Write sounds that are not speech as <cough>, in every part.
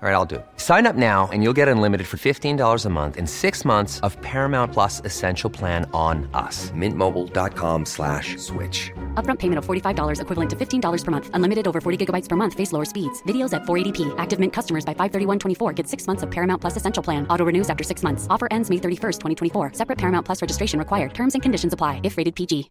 All right, I'll do. it. Sign up now and you'll get unlimited for $15 a month and six months of Paramount Plus Essential Plan on us. Mintmobile.com slash switch. Upfront payment of $45 equivalent to $15 per month. Unlimited over 40 gigabytes per month. Face lower speeds. Videos at 480p. Active Mint customers by 531.24 get six months of Paramount Plus Essential Plan. Auto renews after six months. Offer ends May 31st, 2024. Separate Paramount Plus registration required. Terms and conditions apply if rated PG.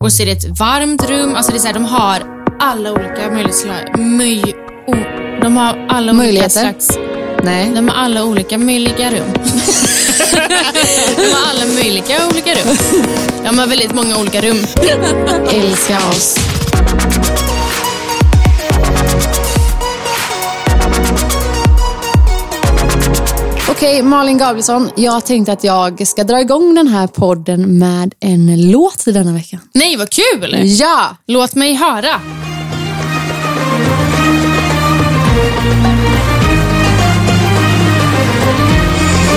Och så är det ett varmt rum. Alltså det är så här, de har alla olika möjliga slag... Möj... o- De har alla Möjligheter? olika slags... Nej. De har alla olika möjliga rum. <laughs> de har alla möjliga olika rum. De har väldigt många olika rum. Älska oss. Okej, Malin Gabrielsson. Jag tänkte att jag ska dra igång den här podden med en låt i denna veckan. Nej, vad kul! Ja! Låt mig höra.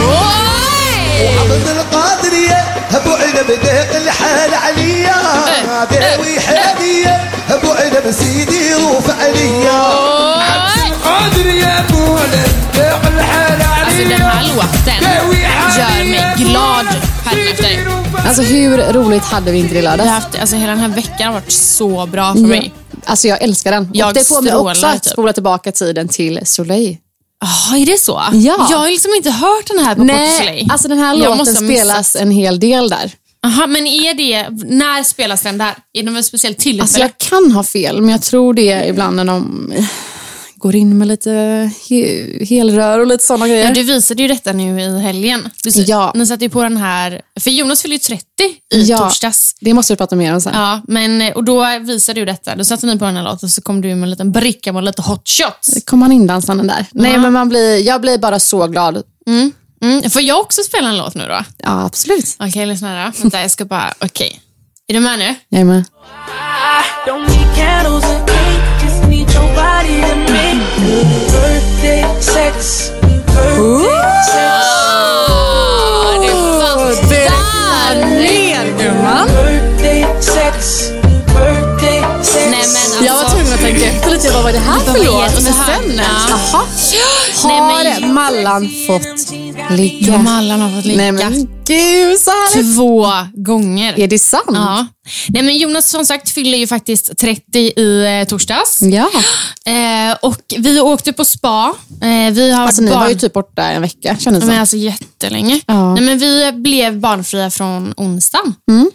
Oj! عبد القادرية ابو عنب ذاق الحال عليا داوي حالية ابو عنب سيدي روف عليا قادر يا بولا داق الحال Alltså den här låten gör mig glad härnäfter. Alltså hur roligt hade vi inte det i Jag har lördags? haft, alltså hela den här veckan har varit så bra för mig. Alltså jag älskar den. Jag Och det får mig strålar, också att typ. spola tillbaka tiden till Soleil. Jaha, är det så? Ja. Jag har ju liksom inte hört den här på Popslay. alltså den här Jag låten måste ha missat. spelas en hel del där. Aha, men är det, när spelas den där? Är det något speciellt tillfälle? Alltså jag kan ha fel, men jag tror det är ibland när de eh, går in med lite he- helrör och lite sådana Ja, grejer. du visade ju detta nu i helgen. Du, s- Ja. Ni satte ju på den här, för Jonas fyllde ju 30 i Ja. torsdags. Det måste vi prata mer om sen. Ja, men, och då visade du detta. Då satte ni på den här låten så kom du med en liten bricka med lite hot shots. Kom han indansande där? Nej, men man blir, jag blir bara så glad. Mm. Får jag också spela en låt nu då? Ja, absolut. Okej, lyssna då. Vänta, jag ska bara... Okej. Är du med nu? Jag är med. Don't need candles or cake, just need your body to make birthday sex. Birthday sex. Åh, du fattar! Birthday sex. Birthday sex. Nej, men alltså- Jag var tvungen att tänka efter lite. Jag bara, vad var det här för vad är det låt? som Men är sen... här? Jaha. <gasps> Nej, men- Har Mallan fått ligga? Ja, Mallan har fått Nej, ligga men gud så härligt. två gånger. Är det sant? Ja. Nej, men Jonas som sagt fyller ju faktiskt 30 i eh, torsdags. Ja. Eh, och vi åkte på spa. Eh, vi har Alltså varit ni barn... var ju typ borta en vecka kändes det men som. alltså jättelänge. Ja. Nej, men vi blev barnfria från onsdagen. Eh,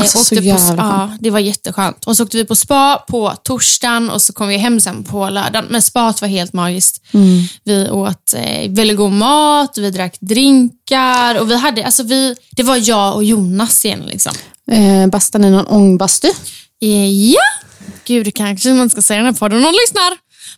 Alltså, så åkte på, jävla spa. skönt. ja, det var jätteskönt. Och så åkte vi på spa på torsdagen och så kom vi hem sen på lördagen. Men spat var helt magiskt. Mm. Vi åt eh, väldigt god mat, vi drack drinkar och vi hade, alltså vi, det var jag och Jonas igen. Liksom. Eh, bastar ni någon ångbastu? Eh, Ja, gud det kanske man ska säga i den här podden om någon lyssnar.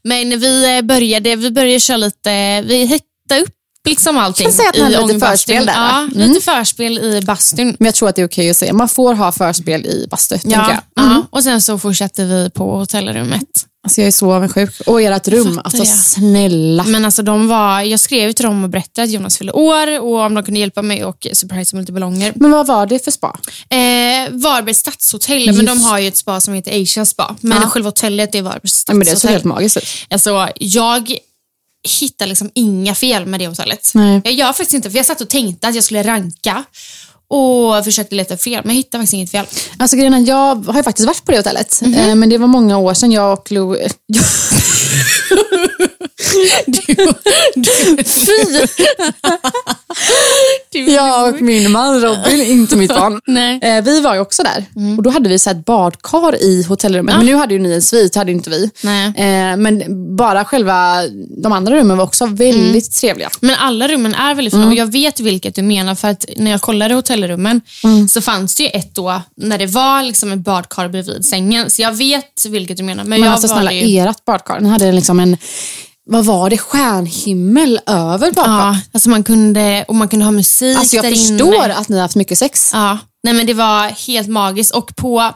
Men vi eh, började, vi började köra lite, vi hittade upp liksom allting. Kan säga att ni i hade lite ångbastun. förspel där, Ja, va? Mm. lite förspel i bastun. Men jag tror att det är okej att säga. Man får ha förspel i bastu, tänker jag. Ja, Mm. ja. och sen så fortsatte vi på hotellrummet. Alltså jag är så avundsjuk. Och ert rum, alltså jag. snälla. Men alltså de var, jag skrev ju till dem och berättade att Jonas fyllde år och om de kunde hjälpa mig och surprise med lite ballonger. Men vad var det för spa? Eh, Varbergs stadshotell, men de har ju ett spa som heter Asia spa. Men Ja. själva hotellet är Varbergs Ja, stadshotell. men det såg helt magiskt ut. Alltså, jag hittar liksom inga fel med det hotellet. Nej. Jag gör faktiskt inte, för jag satt och tänkte att jag skulle ranka och försökte leta fel, men jag hittade faktiskt inget fel. Alltså grejen är, jag har ju faktiskt varit på det hotellet. Eh, Men det var många år sedan jag och <laughs> Lou... Fy! Jag och min man Robin, inte mitt <laughs> barn. Nej. Eh, Vi var ju också där. Och då hade vi så här ett badkar i hotellrummet. Men nu hade ju ni en svit, hade ju inte vi. Nej. Eh, Men bara själva de andra rummen Mm. var också väldigt trevliga. Mm. Men alla rummen är väldigt fina och jag vet vilket du menar för att när jag kollade hotellrummen Mm. så fanns det ju ett då när det var liksom ett badkar bredvid sängen. Så jag vet vilket du menar. Men, Men jag alltså var snälla, det ju... ert badkar, ni hade liksom en, vad var det, stjärnhimmel över badkaret? Ja, alltså man kunde, och man kunde ha musik alltså jag där förstår inne. att ni har haft mycket sex. Ja, nej men det var helt magiskt. Och på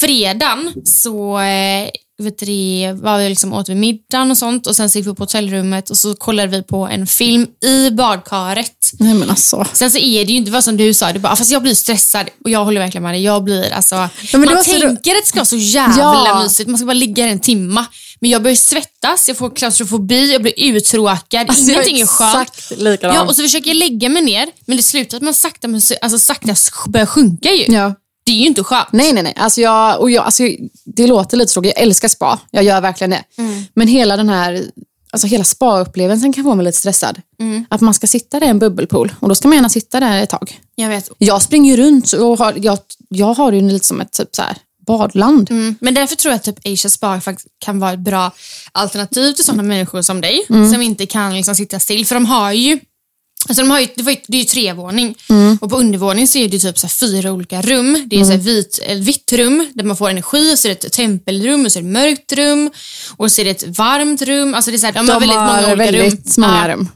fredagen så eh, vet du, det, var vi liksom åt vid middagen och sånt och sen så gick vi på hotellrummet och så kollade vi på en film i badkaret. Nej men alltså. Sen så är det ju inte vad som du sa, du bara, "Ah, fast jag blir stressad och jag håller verkligen med dig. Jag blir alltså, men det var man så- tänker att det ska vara så jävla Ja. mysigt, man ska bara ligga där en timma. Men jag börjar svettas, jag får klaustrofobi, jag blir uttråkad, Alltså, jag är ingenting är skönt. exakt likadan. Ja, och så försöker jag lägga mig ner, men det slutar att man sakta, men så- alltså, sakta sk- börjar sjunka ju. Ja. Det är ju inte skönt. Nej, nej, nej. Alltså jag, och jag, alltså det låter lite tråkigt. Jag älskar spa. Jag gör verkligen det. Men hela den här alltså hela spa-upplevelsen kan få mig lite stressad. Att man ska sitta där i en bubbelpool och då ska man gärna sitta där ett tag. Jag vet. Jag springer ju runt och har, jag, jag har det ju lite som ett typ så här, badland. Mm. Men därför tror jag att typ Asia Spa faktiskt kan vara ett bra alternativ till sådana människor som dig, som inte kan liksom sitta still. För de har ju, alltså de har ju, det, var ju det är ju trevåning och på undervåning så är det typ så här fyra olika rum. Det är så här vit, eh, vitt rum där man får energi, och så är det ett tempelrum, och så är det ett mörkt rum och så är det ett varmt rum. Alltså det är så här, de, har väldigt många olika rum. väldigt många rum.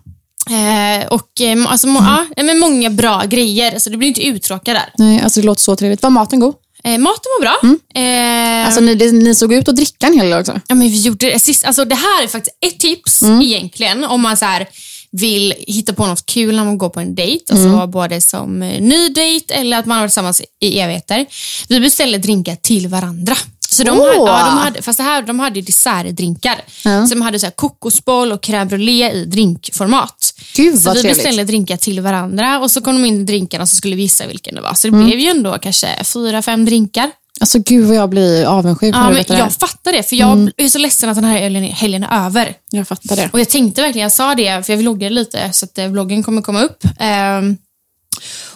Eh, och, eh, må- alltså, må, ja, men många bra grejer, alltså du blir inte uttråkad där. Nej, alltså det låter så trevligt. Var maten god? Eh, maten var bra. Eh, Alltså ni, det, ni såg ut att dricka en hel del också. Ja, men vi gjorde det sist. Alltså, det här är faktiskt ett tips Mm. egentligen om man så här vill hitta på något kul när man går på en dejt, Mm. alltså både som eh, ny dejt eller att man har varit tillsammans i evigheter. Vi beställde drinkar till varandra. Så de, hade, Åh! ja, de hade, fast det här, de hade ju dessertdrinkar. Så de hade så här kokosboll och crème brûlée i drinkformat. Gud, så vad vi trevligt. beställde drinkar till varandra och så kom de in i drinkarna och så skulle vi gissa vilken det var. Så det Mm. blev ju ändå kanske fyra, fem drinkar. Alltså gud vad jag blir avundsjuk när Ja, du men berättar det jag här. fattar det, för jag är så ledsen att den här helgen är, helgen är över. Jag fattar det. Och jag tänkte verkligen, jag sa det, för jag vloggade lite, så att eh, vloggen kommer komma upp. Ehm,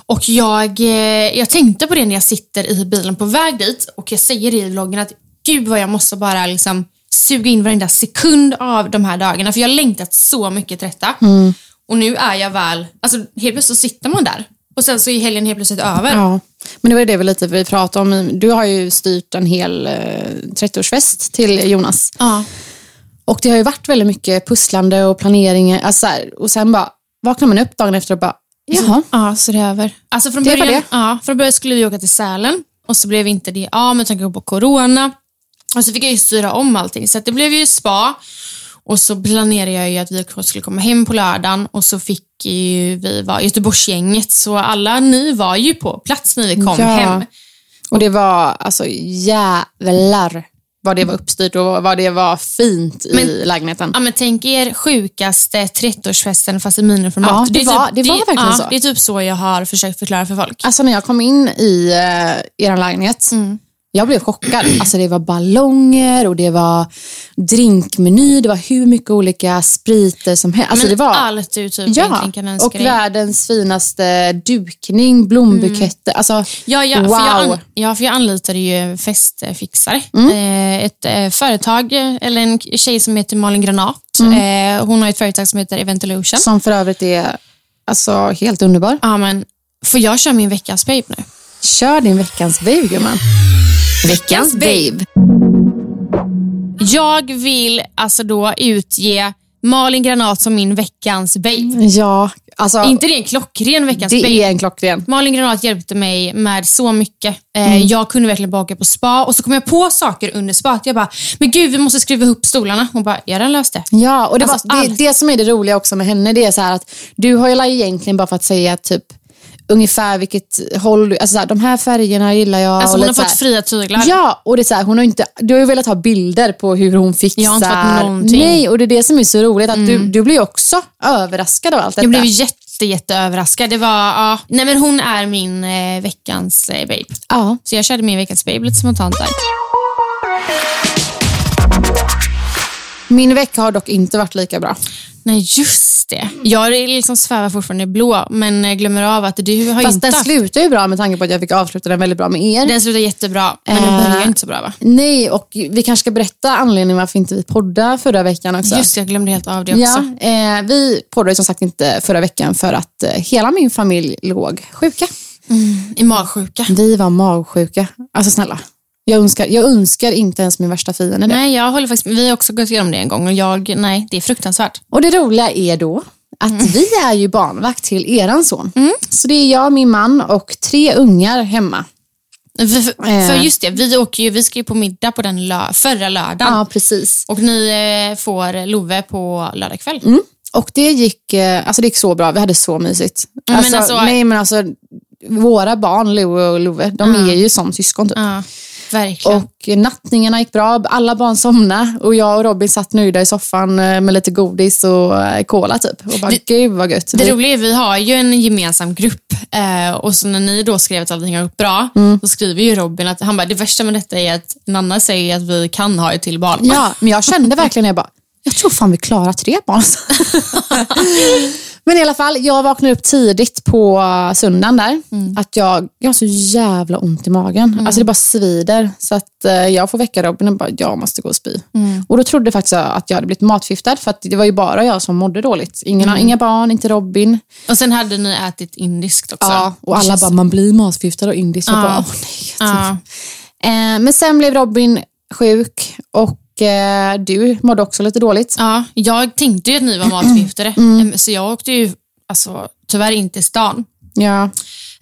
och jag, eh, jag tänkte på det när jag sitter i bilen på väg dit och jag säger det i vloggen att gud vad jag måste bara liksom suga in varenda sekund av de här dagarna, för jag har längtat så mycket till detta. Mm. Och nu är jag väl, alltså helt plötsligt så sitter man där och sen så är helgen helt plötsligt över. Ja, men det var ju det vi lite vi pratade om. Du har ju styrt en hel eh, 30-årsfest till Jonas. Ja. Och det har ju varit väldigt mycket pusslande och planering. Alltså så här, och sen bara vaknar man upp dagen efter och bara, jaha. Ja, så det är över. Alltså från Det var början, det. Ja, från början skulle vi åka till Sälen och så blev inte det av med tanke på corona. Och så fick jag ju styra om allting, så att det blev ju spa. Och så planerade jag ju att vi skulle komma hem på lördagen och så fick ju vi vara Göteborgsgänget, så alla ni var ju på plats när vi kom Ja. hem. Och det var alltså jävlar vad det var uppstyrt och vad det var fint i Men- lägenheten. Ja, men tänk er sjukaste 30-årsfesten fast i miniformat. Ja, det var- det var verkligen ja, så. typ- Det är typ så jag har försökt förklara för folk. Alltså när jag kom in i eh, er lägenhet, Mm. jag blev chockad. Alltså det var ballonger och det var drinkmeny, det var hur mycket olika spriter som helst. Alltså men det var... allt du typ Ja, egentligen kan önska och dig. världens finaste dukning, blombuketter. Alltså, Mm. Ja, ja, wow. Mm. för jag an- ja, för jag anlitade ju festfixare. Eh, ett eh, företag, eh, eller en k- tjej som heter Malin Granat. Eh, hon har ett företag som heter Eventolution. Mm. Som för övrigt är alltså, helt underbar. Ja, men får jag köra min veckans babe nu? Kör din veckans babe, gumman. Veckans babe. Jag vill alltså då utge Malin Granat som min veckans babe. Ja, alltså, Inte det en klockren veckans babe? Mm. det är en klockren. Malin Granat hjälpte mig med så mycket. Eh, Mm. Jag kunde verkligen bara åka på spa och så kom jag på saker under spat. Jag bara, men gud vi måste skruva ihop stolarna. Hon bara, jag har redan löst det. Ja, och det, Alltså, var, det, allt. det som är det roliga också med henne, det är så här att du har ju la egentligen bara för att säga typ ungefär vilket håll du, alltså så här, de här färgerna gillar jag. Alltså och lite hon har så fått här. fria tyglar. Ja, och det är så här, hon har inte, du har ju velat ha bilder på hur hon fixar. Jag har inte fått någonting. Mm. Nej, och det är det som är så roligt. Att du, du blir ju också överraskad av allt detta. Jag blev jätte, jätte överraskad. Det var, ja. Nej men hon är min eh, veckans eh, babe. Ja. Så jag körde min veckans babe lite spontant där. Min vecka har dock inte varit lika bra. Nej just det. Jag är liksom svävar fortfarande i blå men eh, glömmer av att du har Fast inte den haft- slutar ju bra med tanke på att jag fick avsluta den väldigt bra med er. den slutar jättebra, men den Eh, börjar inte så bra va? Nej, och vi kanske ska berätta anledningen varför inte vi poddade förra veckan också. Just det, jag glömde helt av det också. Ja, eh, vi poddade ju som sagt inte förra veckan för att eh, hela min familj låg sjuka. I magsjuka. Vi var magsjuka. Alltså snälla. Jag önskar, jag önskar inte ens min värsta fiende det. Nej, jag håller faktiskt Vi har också gått igenom det en gång och jag, nej, det är fruktansvärt. Och det roliga är då att Mm. vi är ju barnvakt till eran son. Så det är jag, min man och tre ungar hemma. För, för, Eh. för just det, vi, åker ju, vi ska ju på middag på den lö, förra lördagen. Ja, precis. Och ni eh, får Love på lördag kväll. Mm. Och det gick, eh, alltså det gick så bra, vi hade så mysigt. Men Alltså, alltså- nej, men alltså, våra barn, Leo och Love, de är ju som syskon typ. Ja, verkligen. Och nattningarna gick bra, alla barn somnade och jag och Robin satt nöjda i soffan eh, med lite godis och eh, cola typ. Och bara, gud vad gött. Det Vi- roliga är vi har ju en gemensam grupp eh, och så när ni då skrev att allting har gått bra, Mm. då skriver ju Robin att han bara, det värsta med detta är att Nanna säger att vi kan ha ett till barn. Ja, men jag kände verkligen, jag bara, jag tror fan vi klarar tre barn. men i alla fall, jag vaknade upp tidigt på söndagen där. Att jag, jag har så jävla ont i magen. Alltså det bara svider. Så att eh, jag får väcka Robin och bara, jag måste gå och spy. Och då trodde faktiskt jag att jag hade blivit matförgiftad. För att det var ju bara jag som mådde dåligt. Ingen, Inga barn, inte Robin. Och sen hade ni ätit indiskt också. Ja, och alla bara, man blir matförgiftad av indiskt. Jag bara, åh nej. jag tror- Ja. Eh, men sen blev Robin sjuk och eh, du mådde också lite dåligt. Ja, jag tänkte ju att ni var matförgiftade, Mm. Em, så jag åkte ju alltså, tyvärr inte i stan. Ja.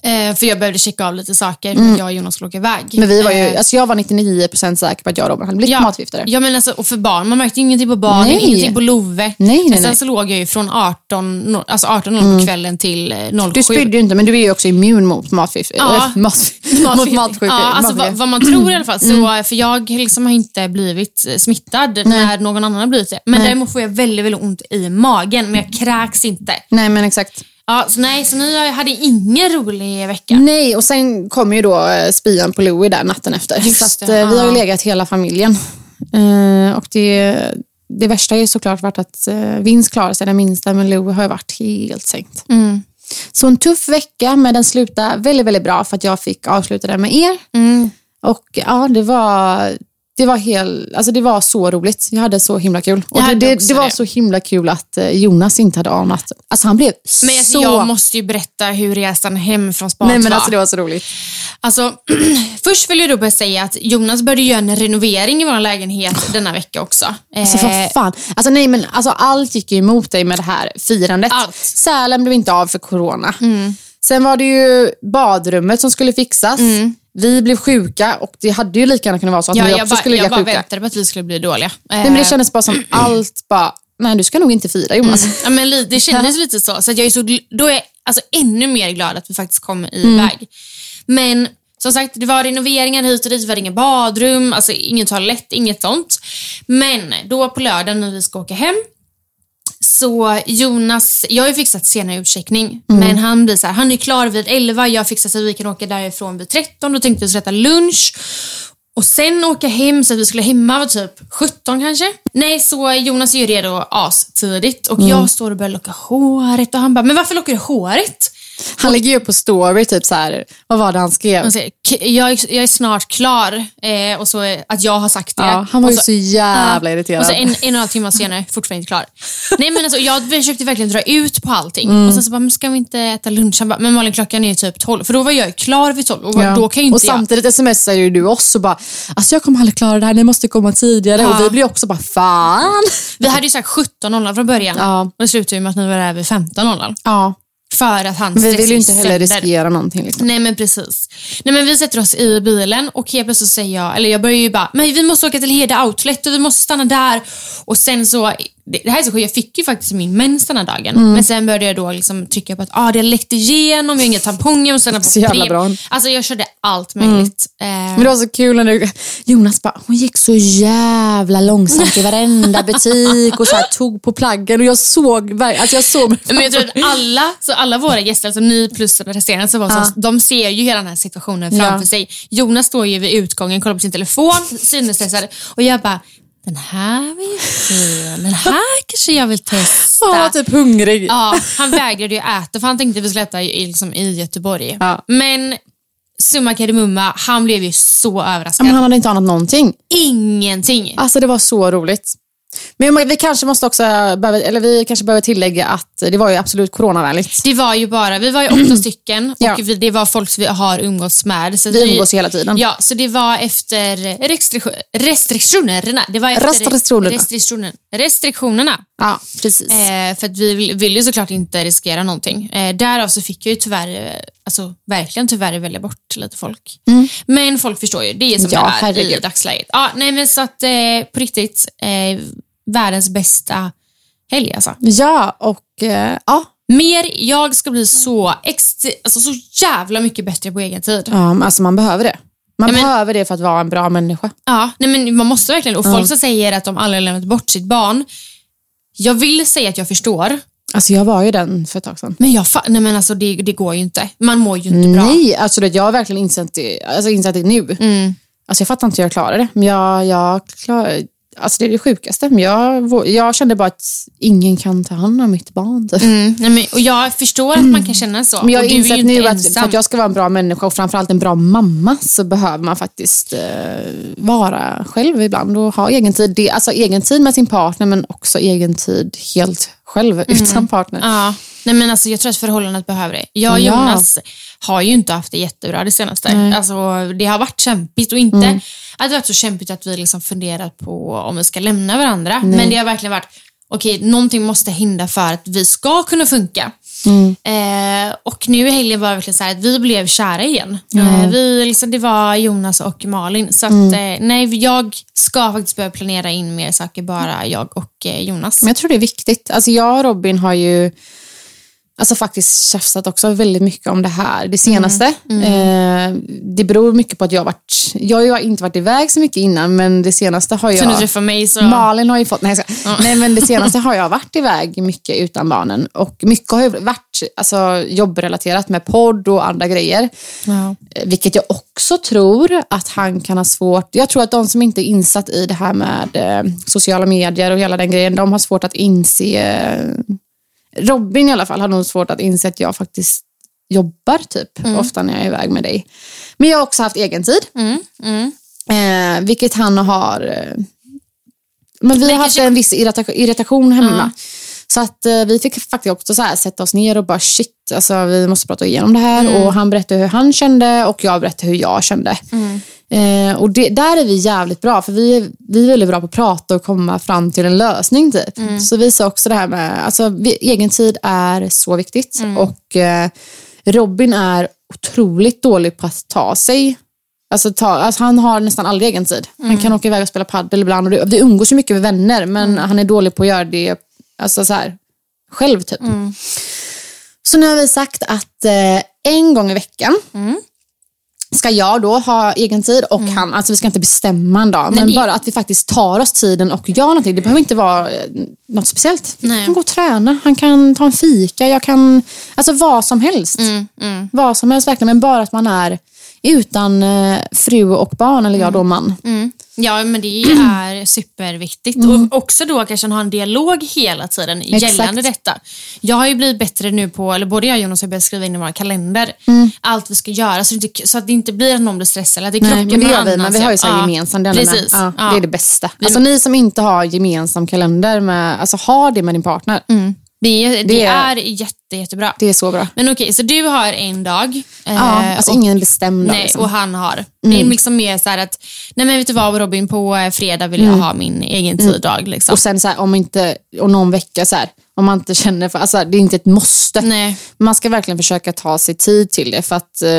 Eh, för jag behövde checka av lite saker, för jag och Jonas skulle åka iväg. Mm. Men vi var ju, Eh, alltså jag var 99% säker på att jag och Robin hade blivit matförgiftade. Ja, men alltså, och för barn, man märkte ju ingenting på barnen, Nej. ingenting på Love. nej, men sen nej. Mm. så låg jag ju från 18, no- alltså 18.00 på kvällen till eh, 07. Du spydde ju inte, men du är ju också immun <laughs> mot matförgiftning. Ja. Eller matförgiftning. Mm. mot matsjuka. Ja, alltså vad, vad man tror i alla fall. Så, För jag liksom har inte blivit eh, smittad när någon annan har blivit det. Men däremot får jag väldigt, väldigt ont i magen, men jag kräks inte. Nej, men exakt. Ja, så nej, så ni hade ingen rolig vecka. Nej, och sen kom ju då eh, spyan på Louie där natten efter. Just så att, det, eh, vi har ju ja. legat hela familjen. Eh, och det, det värsta har ju såklart varit att eh, Vince klarar sig den minsta, men Louie har ju varit helt sänkt. Mm. Så en tuff vecka, men den slutade väldigt, väldigt bra för att jag fick avsluta den med er. Mm. Och ja, det var... Det var, hel, alltså det var så roligt. Jag hade så himla kul. Och det, hade det, också det var det. så himla kul att eh, Jonas inte hade anat. Alltså han blev Men alltså, så... jag måste ju berätta hur resan hem från Spanien Nej men var. alltså det var så roligt. Alltså, <clears throat> först vill jag då börja säga att Jonas började göra en renovering i vår lägenhet denna vecka också. Ah. Alltså Eh, för fan. Alltså, nej, men, alltså, allt gick ju emot dig med det här firandet. Allt. Mm. Sälen blev inte av för corona. Sen var det ju badrummet som skulle fixas. Vi blev sjuka och det hade ju lika gärna kunnat vara så att Mm. ja, vi jag också bara, skulle jag ligga bara sjuka. väntade på att vi skulle bli dåliga. Eh, Nej, men det kändes bara som allt bara, nej du ska nog inte fira Jonas. Ja, men li- det kändes lite så. så att jag är så gl- då är jag alltså, ännu mer glad att vi faktiskt kom iväg. Men som sagt, det var renoveringar hit och dit, det var inget badrum, alltså, ingen toalett, inget sånt. Men då på lördagen när vi ska åka hem, så Jonas, jag har ju fixat senare utcheckning, men han blir så här, han är klar vid 11, jag fixar så att vi kan åka därifrån vid 13, då tänkte vi skulle äta lunch. Och sen åka hem så att vi skulle hemma var typ 17 kanske. Nej, så Jonas är ju redo astidigt och Mm. jag står och börjar locka håret och han bara, men varför lockar du håret? Han lägger ju upp på story, typ så här, vad var det han skrev? Han säger, "K- jag, är- jag är snart klar eh, och så eh, att jag har sagt det. ja, han var Och ju så- så jävla Ja. irriterad. Och så en, en och en halv timme senare, fortfarande inte klar. Nej, men alltså, jag försökte verkligen dra ut på allting. Mm. Och sen så bara, men ska vi inte äta lunch? Han bara, men Malin klockan är ju typ 12. För då var jag ju klar vid 12 och Ja. då kan ju inte och samtidigt smsar ju du oss och bara, alltså jag kommer aldrig klara det här, ni måste komma tidigare. Ja. Och vi blir också bara, fan. jag. Vi hade ju sagt 17.00 från början Ja. och det slutade ju med att ni var där vid 15.00. Ja, För att han Men vi vill ju inte stressar heller sönder. riskera någonting. Liksom. Nej men precis. Nej men vi sätter oss i bilen och helt plötsligt så säger jag, eller jag börjar ju bara, men vi måste åka till Heda Outlet och vi måste stanna där. Och sen så, det det här är så sjukt, jag fick ju faktiskt min mens den här dagen. Mm. Men sen började jag då liksom trycka på att ah, det har läckt igenom, jag har inga tamponger och sen på Så jävla Prem. bra. Mm. Alltså jag körde allt möjligt. Eh, Men det var så kul när du, Jonas bara, hon gick så jävla långsamt <laughs> i varenda butik och så här, tog på plaggen och jag såg, ver- alltså jag såg Men jag <laughs> tror att alla, så alla våra gäster, alltså ni plus resterande, så var så, de ser ju hela den här situationen framför Ja. sig. Jonas står ju vid utgången, kollar på sin telefon, sinnesstressad och jag bara, den här var ju fin, den här kanske jag vill testa. han var typ hungrig. Ja, han vägrade ju äta för han tänkte vi skulle äta i, liksom, i Göteborg. Ja. Men summa kardemumma, han blev ju så överraskad. Men han hade inte anat någonting. Ingenting. Alltså det var så roligt. Men vi kanske måste också behöva, eller vi kanske behöver tillägga att det var ju absolut coronavänligt. Det var ju bara, vi var ju <clears throat> åtta stycken och Ja. vi, det var folk som vi har umgåtts med. Så Vi umgås ju hela tiden. Ja, så det var efter restriktio- restriktionerna. Det var efter Restriktionerna. restriktioner- restriktionerna. Ja, precis. Eh, för att vi vill- ville ju såklart inte riskera någonting. Eh, därav så fick jag ju tyvärr, eh, alltså verkligen tyvärr välja bort lite folk. Men folk förstår ju, det är som Mm. Ja, det är i herregud. dagsläget. Ja, nej men så att eh, på riktigt, eh, världens bästa helg alltså. Ja, och eh, ja. Mer, jag ska bli så, ext- alltså, så jävla mycket bättre på egen tid. ja, men alltså man behöver det. Man Ja, men- behöver det för att vara en bra människa. Ja, nej men man måste verkligen, och folk som säger att de aldrig har lämnat bort sitt barn. Jag vill säga att jag förstår, Alltså jag var ju den för ett tag sedan. men, jag fa- nej, men alltså, det, det går ju inte. Man mår ju inte bra. Nej, alltså det, jag har verkligen insett det, alltså, insett det nu. Mm. Alltså jag fattar inte hur jag klarar det. Men jag, jag klarar, alltså det är det sjukaste. Men jag, vå- jag kände bara att ingen kan ta hand om mitt barn. typ. Mm, nej, men, och jag förstår att man kan känna så. Men jag har och du är ju insett nu inte att ensam. för att jag ska vara en bra människa och framförallt en bra mamma så behöver man faktiskt eh, vara själv ibland och ha egen tid. Det, är alltså egen tid med sin partner men också egen tid helt själv utan partner. Mm. Ja, nej, men alltså, jag tror att förhållandet behöver det. Jag och Ja. Jonas har ju inte haft det jättebra det senaste. Alltså, det har varit kämpigt och inte Mm. att det har varit så kämpigt att vi liksom funderat på om vi ska lämna varandra. Men det har verkligen varit, okej, någonting måste hända för att vi ska kunna funka. Mm. Eh, och nu i helgen var det verkligen så här att vi blev kära igen. Eh, vi, liksom, det var Jonas och Malin. Så att, Mm. eh, nej, jag ska faktiskt börja planera in mer saker, bara jag och eh, Jonas. Men jag tror det är viktigt. Alltså jag och Robin har ju alltså faktiskt tjafsat också väldigt mycket om det här det senaste. Eh, det beror mycket på att jag har varit, jag har ju inte varit iväg så mycket innan men det senaste har jag... Så nu träffar mig så... Malin har ju fått, nej, jag ska, nej men det senaste har jag varit iväg mycket utan barnen och mycket har ju varit alltså, jobbrelaterat med podd och andra grejer. Ja. Eh, Vilket jag också tror att han kan ha svårt, jag tror att de som inte är insatt i det här med eh, sociala medier och hela den grejen, de har svårt att inse, eh, Robin i alla fall har nog svårt att inse att jag faktiskt jobbar typ Mm. Mm. ofta när jag är iväg med dig. Men jag har också haft egen tid. Eh, vilket han har... Eh, men vi har haft en viss irrita- irritation hemma. Så att eh, vi fick faktiskt också så här, sätta oss ner och bara shit, alltså, vi måste prata igenom det här. Och han berättade hur han kände och jag berättade hur jag kände. Eh, och det, där är vi jävligt bra, för vi, är- vi är väldigt bra på att prata och komma fram till en lösning. Typ. Så vi sa också det här med, alltså vi, egen tid är så viktigt. Och eh, Robin är otroligt dålig på att ta sig Alltså, ta, alltså han har nästan aldrig egen tid. Han kan åka iväg och spela padel ibland. Och det, det umgås ju mycket med vänner, men han är dålig på att göra det alltså så här, själv. typ. Så nu har vi sagt att eh, en gång i veckan ska jag då ha egen tid och han. Alltså vi ska inte bestämma en dag, men det- bara att vi faktiskt tar oss tiden och gör någonting. Det behöver inte vara eh, något speciellt. Nej. Han kan gå och träna, han kan ta en fika, jag kan... Alltså vad som helst Mm. vad som helst verkligen, men bara att man är utan eh, fru och barn, eller jag då man. Ja, <clears throat> men det är superviktigt. Mm. Och också då kanske ha en dialog hela tiden Exakt. gällande detta. Jag har ju blivit bättre nu på, eller både jag och Jonas har börjat skriva in i våra kalender, allt vi ska göra så, det inte, så att det inte blir att någon blir stressad eller att det Mm. Nej, krockar men det med gör vi, annans. men vi har ju så här Ja, gemensamt. den med. Precis. Ja, Ja. Det är det bästa. Alltså ni som inte har gemensam kalender, med, alltså ha det med din partner. Det, är- det Det är är- jätte, jättebra. Det är så bra. Men okej, så du har en dag. Ja, eh, alltså och- ingen bestämd dag. Nej, liksom. Mm. och han har. Det är liksom mer så här att, nej men vet du vad Robin, på eh, fredag vill Mm. jag ha min egen tiddag. Liksom. Och sen så här, om inte, om någon vecka så här, om man inte känner för, alltså det är inte ett måste. Nej. Man ska verkligen försöka ta sig tid till det för att eh,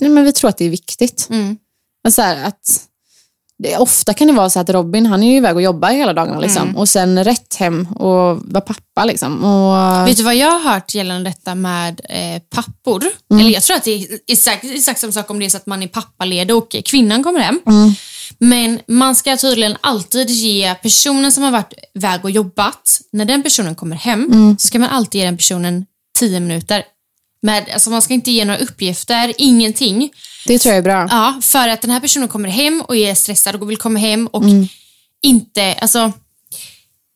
nej, men vi tror att det är viktigt. Mm. Men så här, att, det, ofta kan det vara så att Robin han är ju iväg och jobbar hela dagarna liksom. Mm. och sen rätt hem och vara pappa. Liksom. Och, Vet du vad jag har hört gällande detta med eh, pappor? Eller jag tror att det är exakt, exakt samma sak om det är så att man är pappaledig och kvinnan kommer hem. Men man ska tydligen alltid ge personen som har varit väg och jobbat, när den personen kommer hem så ska man alltid ge den personen 10 minuter. Med, alltså man ska inte ge några uppgifter, ingenting. det tror jag är bra. Ja, för att den här personen kommer hem och är stressad och vill komma hem och Mm. inte, alltså,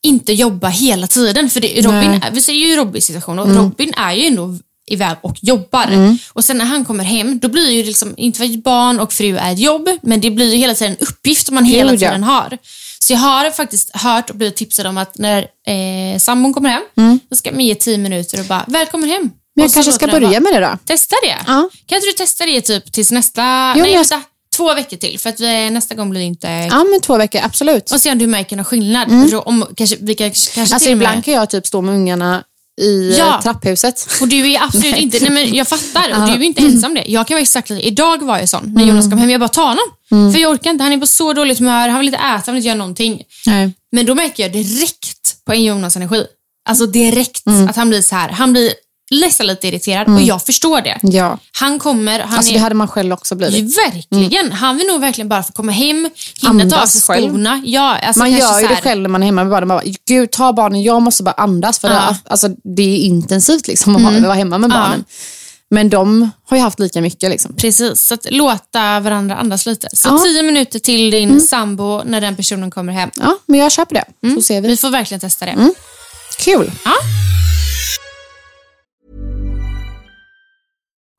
inte jobba hela tiden. För det, Robin, vi ser ju Robins situation Mm. och Robin är ju ändå iväg och jobbar. Och sen när han kommer hem, då blir ju liksom, inte för att barn och fru är ett jobb, men det blir ju hela tiden en uppgift som man hela Gud, ja. tiden har. Så jag har faktiskt hört och blivit tipsad om att när eh, sambon kommer hem, då ska man ge tio minuter och bara, välkommen hem. Mm. Och Men jag så kanske låter ska den börja vara- med det då. Testa det. Ja. Kan inte du testa det typ tills nästa... nej, Jo, men jag- vänta. Två veckor till, för att vi, nästa gång blir det inte... Ja, men två veckor, absolut. Och se om du märker någon skillnad. För Om, kanske, vi kanske, kanske Alltså till och med- ibland kan jag typ stå med ungarna i Ja. <laughs> eh, trapphuset. Och du är absolut inte, nej men jag fattar, och du är ju inte Mm. ensam om det. Jag kan vara exakt lika- idag var jag sån, när Jonas kom hem, jag bara ta honom. Mm. För jag orkar inte, han är på så dåligt humör, han vill inte äta, han vill inte göra någonting. Nej. Men då märker jag direkt på en Jonas energi, alltså direkt Mm. att han blir så här, han blir nästan lite irriterad och jag förstår det. Ja. Han kommer, han Alltså är det hade man själv också blivit. Verkligen. Han vill nog verkligen bara få komma hem, hinna ta av Mm. Andas sig själv. skorna. Ja, alltså Man kanske gör ju så det här, själv när man är hemma med barnen. Man bara, Gud, ta barnen, jag måste bara andas. För Ja. Mm. det, alltså, det är intensivt liksom, att ha- vara hemma med Ja. barnen. Men de har ju haft lika mycket. Liksom. Precis, så att låta varandra andas lite. Så Ja. Mm. tio minuter till din sambo när den personen kommer hem. Ja, men jag köper det. Så ser Mm. Vi vi. Mm. får verkligen testa det. Kul. Ja.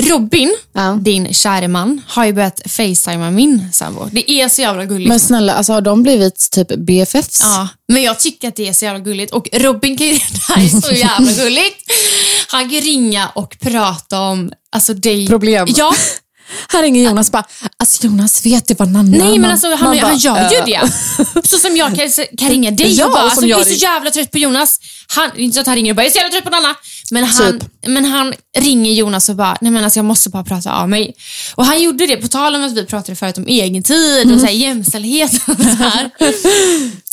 Robin, Ja. din käre man, har ju börjat facetima min sambo. Det är så jävla gulligt. Men snälla, alltså, har de blivit typ BFFs? Ja, men jag tycker att det är så jävla gulligt. Och Robin kan ju, <laughs> det här är så jävla gulligt. Han kan ringa och prata om alltså, dig. Problem. Ja, Här ringer Jonas bara, alltså Jonas vet du vad Nanna Nej, men man- alltså, man han, bara, han gör ju "Eh." det. Så som jag kan, kan ringa dig Ja, och bara, och som alltså, jag jag är så ringer. jävla trött på Jonas. Han, inte så att han ringer och bara, jag är så jävla trött på Nanna. Men han, Typ. men han ringer Jonas och bara, nej men alltså jag måste bara prata av mig. Och han gjorde det, på tal om att vi pratade förut om egen tid och så här, Mm. jämställdhet och så <laughs> här.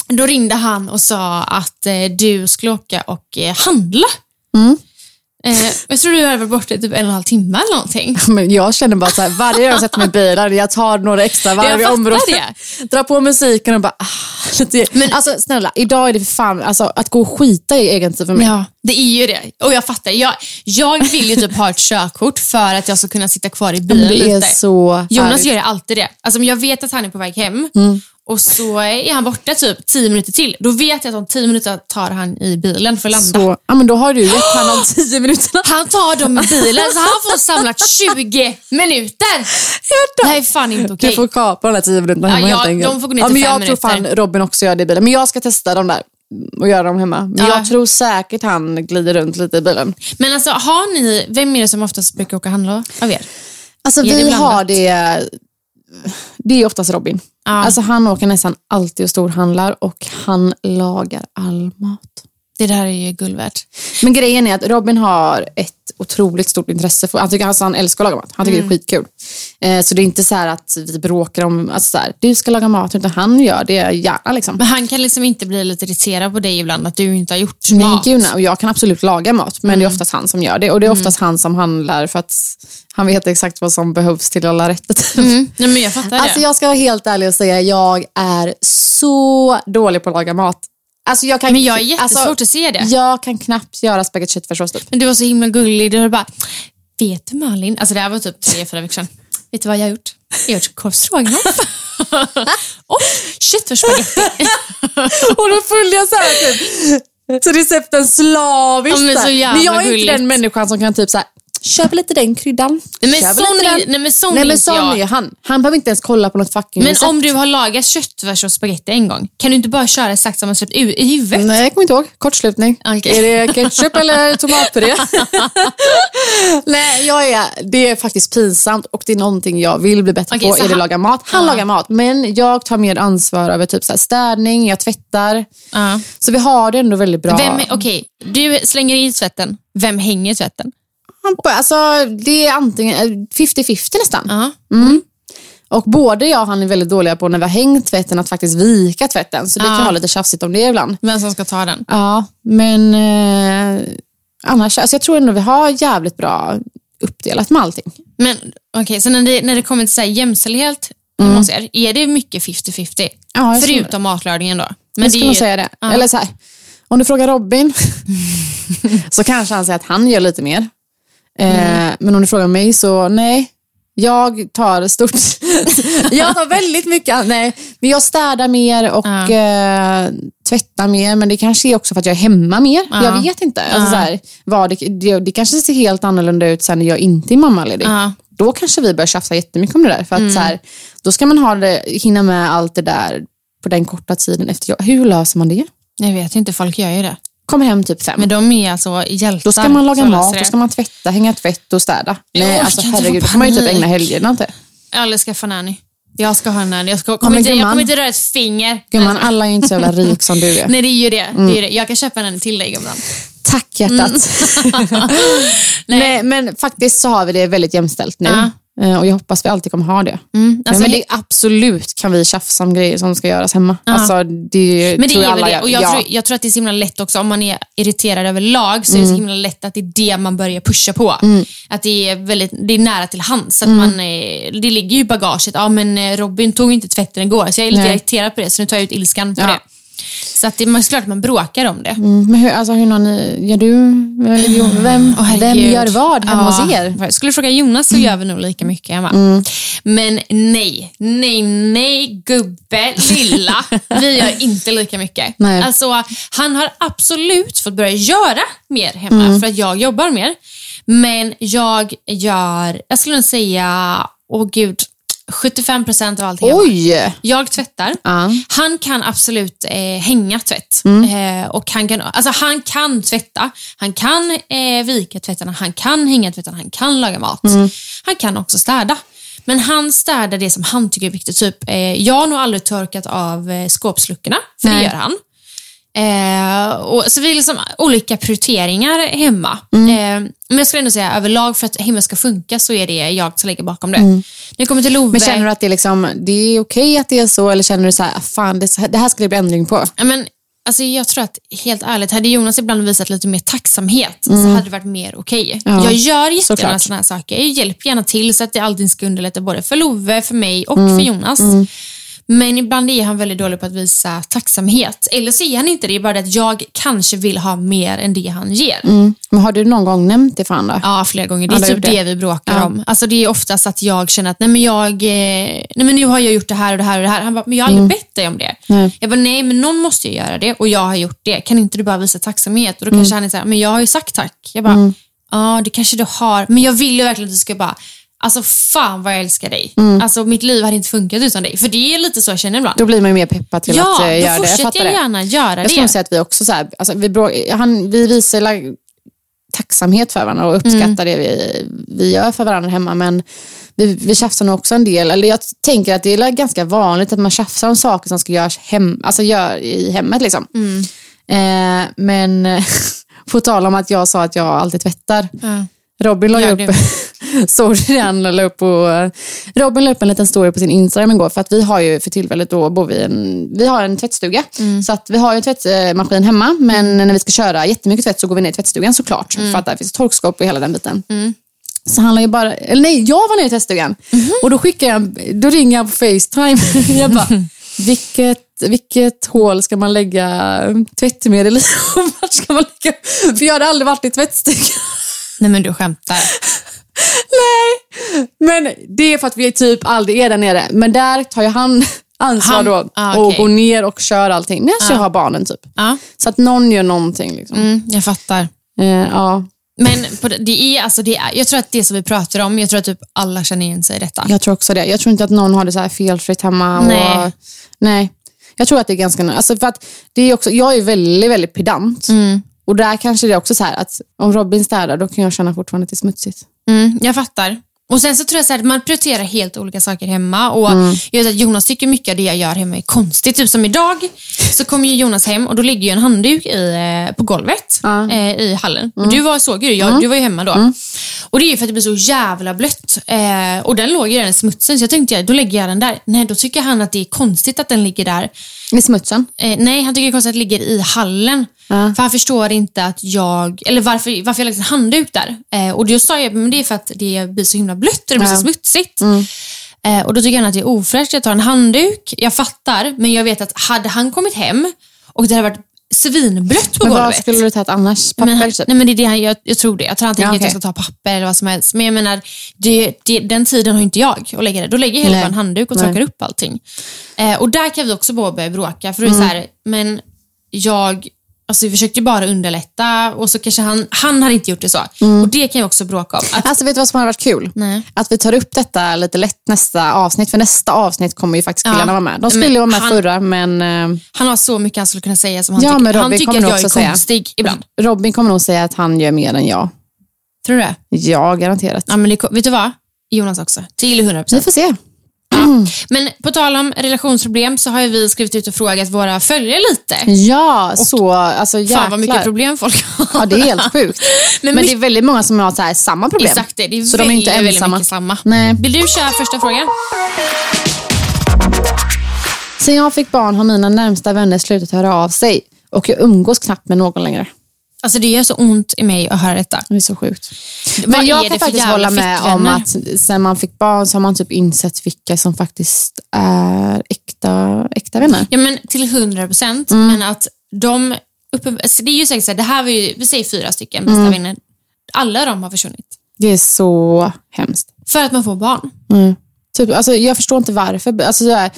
Då ringde han och sa att eh, du skulle åka och eh, handla. Mm. Eh, jag tror du hade varit borta i typ en och en halv timme eller någonting. Men jag känner bara så här, varje gång jag sätter mig i bilen, jag tar några extra varv Jag i fattar området. <laughs> Drar på musiken och bara... Ah, lite. Men, alltså snälla, idag är det för fan, alltså, att gå och skita i egen tid för mig. Ja, det är ju det. Och jag fattar. Jag, jag vill ju typ ha ett körkort för att jag ska kunna sitta kvar i bilen Men det är lite. så Jonas härligt. Mm. gör ju alltid det. Alltså, om jag vet att han är på väg hem och så är han borta typ 10 minuter till. Då vet jag att om 10 minuter tar han i bilen för att landa. Så, ja, men då har du gett honom tio minuter. <gasps> Han tar dem i bilen så han får samlat 20 minuter. Det här är fan inte okej. Du får kapa de där tio minuterna hemma Ja, ja, helt enkelt. de får gå ner ja, till men fem jag tror fan minuter. Robin också gör det i bilen. Men jag ska testa de där och göra dem hemma. Men Ja. jag tror säkert han glider runt lite i bilen. Men alltså, har ni, vem är det som oftast brukar åka och handla av er? Alltså Är det vi blandat? har det, det är oftast Robin. Alltså han åker nästan alltid och storhandlar och han lagar all mat. Det där är ju guld värt. Men grejen är att Robin har ett otroligt stort intresse för, han, tycker, alltså, han älskar att laga mat, han Mm. tycker det är skitkul. Eh, så det är inte så här att vi bråkar om, alltså, så här, du ska laga mat, utan han gör det gärna. Liksom. Men han kan liksom inte bli lite irriterad på dig ibland att du inte har gjort Nej, mat. Mm. gud, nej. och jag kan absolut laga mat, men det är oftast han som gör det. Och det är oftast han som handlar för att han vet exakt vad som behövs till alla rätter. typ. Mm. Nej, men jag fattar Alltså det. jag ska vara helt ärlig och säga, jag är så dålig på att laga mat. Alltså jag kan, Men jag är jättesvårt alltså, att se det. Jag kan knappt göra spagetti köttfärssås typ. Men du var så himla gullig. Du var bara, vet du Malin, alltså det här var typ tre, fyra veckor sedan. Vet du vad jag har gjort? Jag har gjort <laughs> korvstroganoff. och köttfärsspagetti. Och då följde jag så här typ. Så recepten slaviskt. Ja, men så så här. jävla men Alltså, jag är gulligt. inte den människan som kan typ så här, kör vi lite den kryddan. Nej, men Kör vi sån lite är- den. nej, men sån nej, är men inte sån jag. är han. Han behöver inte ens kolla på något fucking Men recept. om du har lagat köttfärs och spagetti en gång, kan du inte bara köra exakt samma recept i i huvudet? Nej, jag kommer inte ihåg. Kortslutning. Ah, Okej. Är det <laughs> ketchup eller tomatpuré? Nej, jag är, det är faktiskt pinsamt och det är någonting jag vill bli bättre Okej, på. så Är det han- laga mat? Han Ja. lagar mat, men jag tar mer ansvar över typ så här städning, jag tvättar. Ja. Så vi har det ändå väldigt bra. Vem, okej, du slänger i tvätten. Vem hänger i tvätten? Han på- Alltså, det är antingen eh, 50-50 nästan. Mm. Ja. Och både jag och han är väldigt dåliga på när vi har hängt tvätten att faktiskt vika tvätten. Så det Ja. kan vara lite tjafsigt om det ibland. Vem som ska ta den? Ja, men eh, annars, alltså jag tror ändå vi har jävligt bra uppdelat med allting. Men okej, så när det, när det kommer till så här jämställdhet, mm. er, är det mycket 50-50? Ja, jag tror Förutom matlagningen då. Men Men jag skulle är nog ju- säga det. Ja. Eller så här, om du frågar Robin <laughs> så kanske han säger att han gör lite mer. Eh, Men om du frågar mig så nej, jag tar stort. <laughs> jag tar väldigt mycket. Nej, men jag städar mer och Ja. eh, tvättar mer. Men det kanske är också för att jag är hemma mer. Ja. Jag vet inte. Alltså, så här, vad det, det, det kanske ser helt annorlunda ut sen när jag inte är mammaledig. Ja. Mm. Då kanske vi börjar tjafsa jättemycket om det där. För att så här, då ska man ha det, hinna med allt det där på den korta tiden efter jag. Hur löser man det? Jag vet inte, folk gör ju det. Kommer hem typ fem. Men de är alltså hjältar. Då ska man laga som mat, löser då det. ska man tvätta, hänga tvätt och städa. Jag Nej, orkar alltså inte, herregud, jag då får får man ju typ panik. ägna helgerna inte. Eller skaffa nanny. Jag ska ha en nanny. Jag, ska, kommer men inte, jag gumman. kommer inte röra ett finger. Gumman, Mm. alla är inte så jävla rik som du är. Mm. Nej, det är ju det. det, är ju det. Jag kan köpa en nanny till dig gumman. Tack hjärtat. Mm. <laughs> Nej. men faktiskt så har vi det väldigt jämställt nu. Eh, Och jag hoppas vi alltid kommer ha det. alltså, men det är absolut kan vi tjafsa om grejer som ska göras hemma. Alltså, det Men det tror jag är väl alla det. gör. Och jag, ja. tror, jag tror att det är så himla lätt också, om man är irriterad över lag, så är det så Mm. himla lätt att det är det man börjar pusha på. Att det är, väldigt, det är nära till hands. Mm. Att man, eh, det ligger ju i bagaget. Ja, men eh, Robin tog inte tvätten igår, så jag är lite Nej. irriterad på det, så nu tar jag ut ilskan på Ja. det. Så att det är klart att man bråkar om det. Mm, Men hur, alltså, hur någon, gör du, eller jo, vem, Åh, vem herregud. gör vad hemma hos er? Jag skulle du fråga Jonas Mm. så gör vi nog lika mycket hemma. Men nej, nej, nej gubbe, lilla. <laughs> vi gör inte lika mycket. Nej. Alltså, han har absolut fått börja göra mer hemma Mm. för att jag jobbar mer. Men jag gör, jag skulle nog säga, åh gud, 75% av allting hemma. Oj! Jag tvättar. Ja. Han kan absolut eh, hänga tvätt. Mm. Eh, och han, kan, alltså, han kan tvätta, han kan eh, vika tvättarna, han kan hänga tvättarna, han kan laga mat. Mm. Han kan också städa. Men han städar det som han tycker är viktigt. Typ, eh, jag har nog aldrig torkat av eh, skåpsluckorna, för det Nej. gör han. Eh, och, så vi är liksom olika prioriteringar hemma. Mm. Eh, men jag skulle ändå säga överlag, för att hemmet ska funka, så är det jag som ligger bakom det. När det kommer till Love... Mm. Men känner du att det är, liksom, det är okej att det är så eller känner du så här, "Ah, fan det, det här ska det bli ändring på? Ja, men, alltså, jag tror att, helt ärligt, hade Jonas ibland visat lite mer tacksamhet så hade det varit mer okej. Mm. Ja, jag gör jättegärna såklart. sådana här saker. Jag hjälper gärna till så att det allting ska underlätta både för Love, för mig och Mm. för Jonas. Men ibland är han väldigt dålig på att visa tacksamhet. Eller så är han inte det, det är bara det att jag kanske vill ha mer än det han ger. Mm. Men har du någon gång nämnt det för andra? Ja, flera gånger. Det är Ja, du har typ det. gjort det. vi bråkar om. Alltså, det är oftast att jag känner att nej, men jag, eh, nej, men nu har jag gjort det här och det här och det här. Han bara, men jag har aldrig bett dig om det. Mm. Nej. Jag bara, nej men någon måste ju göra det och jag har gjort det. Kan inte du bara visa tacksamhet? Och då Mm. kanske han är så här, men jag har ju sagt tack. Jag bara, ja det kanske du har. Men jag vill ju verkligen att du ska bara, alltså fan vad jag älskar dig. Mm. Alltså mitt liv hade inte funkat utan dig. För det är lite så jag känner ibland. Då blir man ju mer peppad till ja, att eh, då göra det. Jag fortsätter fattar jag, det. gärna göra Jag det. skulle nog säga att vi också så här, alltså, vi, brå, han, vi visar la- tacksamhet för varandra och uppskattar det vi, vi gör för varandra hemma. Men vi, vi tjafsar nog också en del. Eller jag tänker att det är la- ganska vanligt att man tjafsar om saker som ska göras hem, alltså, gör i hemmet. Liksom. Eh, men <laughs> på tal om att jag sa att jag alltid tvättar. Ja. Robin la ju Gör upp, <laughs> sorry, han la upp på, Robin la upp en liten story på sin Instagram igår för att vi har ju för tillfället då bor vi i en, vi har en tvättstuga. Mm. Så att vi har ju en tvättmaskin hemma men när vi ska köra jättemycket tvätt så går vi ner i tvättstugan såklart Mm. för att där finns torkskåp och hela den biten. Så han la ju bara, eller nej, jag var nere i tvättstugan Mhm. och då skickar jag, en- då ringer jag på Facetime. <laughs> jag bara, Mhm. vilket, vilket hål ska man lägga tvättmedel i? <laughs> Och vart ska man lägga? För jag hade aldrig varit i tvättstugan. <laughs> Nej men du skämtar. Nej, men det är för att vi typ aldrig är där nere. Men där tar ju han ansvar Han- då ah, och okej. Ah. går ner och kör allting medan jag har barnen typ. Ja, Så att någon gör någonting. Liksom. mm, jag fattar. Eh, ja. Men på, det- det är, alltså, det är, jag tror att det som vi pratar om, jag tror att typ alla känner igen sig i detta. Jag tror också det. Jag tror inte att någon har det så här felfritt hemma. Och, Nej. nej. Jag tror att det är ganska... Alltså för att det är också, jag är väldigt, väldigt pedant. Mm. Och där kanske det är också så här att om Robin städar, då kan jag känna fortfarande att det är smutsigt. Mm, jag fattar. Och sen så tror jag så här, att man prioriterar helt olika saker hemma. Och jag vet att Jonas tycker mycket av det jag gör hemma är konstigt. Typ som idag så kom ju Jonas hem och då ligger ju en handduk i, eh, på golvet eh, i hallen. Och du var, såg ju det, jag, du var ju hemma då. Och det är ju för att det blir så jävla blött. Eh, och den låg ju redan i smutsen så jag tänkte då lägger jag den där. Nej, då tycker han att det är konstigt att den ligger där. I smutsen. Eh, nej, han tycker det är konstigt att det ligger i hallen. För han förstår inte att jag, eller varför, varför jag lagt en handduk där. Eh, och då sa jag men det är för att det blir så himla blött och det blir så smutsigt. Mm. Eh, och då tycker han att det är ofräscht att jag tar en handduk. Jag fattar, men jag vet att hade han kommit hem och det hade varit svinblött på Men vad golvet. skulle du tagit annars? Papper, Men han, typ? nej men det är det han, jag, jag tror det. Jag tror han tänker Ja, att okej. jag ska ta papper eller vad som helst. Men jag menar, det, det, den tiden har inte jag att lägga det. Då lägger jag hellre Nej. bara en handduk och Nej. torkar upp allting. Eh, och där kan vi också bara börja bråka. För då är det så här, men jag, alltså vi försökte ju bara underlätta och så kanske han, han har inte gjort det så. Mm. Och det kan jag också bråka om. Att, Alltså vet du vad som hade varit kul? Nej. Att vi tar upp detta lite lätt nästa avsnitt. För nästa avsnitt kommer ju faktiskt killarna Ja. vara med. De skulle Men vara med han- förra, men eh, han har så mycket han skulle kunna säga som han Ja, men tycker. Han Robin tycker kommer att nog jag är också säga. konstig ibland. Robin kommer nog säga att han gör mer än jag. Tror du det? Ja, garanterat. Ja, men det, vet du vad? Jonas också. Till 100 Vi får se. Men på tal om relationsproblem så har ju vi skrivit ut och frågat våra följare lite. Mm, Ja, så alltså jäklar. Fan vad mycket problem folk har. <laughs> Ja, det är helt sjukt. Men Men, mycket- det är väldigt många som har så här, samma problem. Exakt det. Det är så väldigt, de är inte väldigt ensamma. mycket samma. Nej. Vill du köra första frågan? Sen jag fick barn har mina närmsta vänner slutat höra av sig och jag umgås knappt med någon längre. Alltså det gör så ont i mig att höra detta. Det är så sjukt. Vad Men är jag det kan för faktiskt jävla hålla med om fittvänner? att sen man fick barn så har man typ insett vilka som faktiskt är äkta, äkta vänner. Ja, men till 100 procent. Mm. Men att de... Uppe, alltså det är ju säkert så här, det här var ju, vi säger fyra stycken Mm. bästa vänner. Alla de har försvunnit. Det är så hemskt. För att man får barn. Typ, alltså, jag förstår inte varför. Alltså, så här,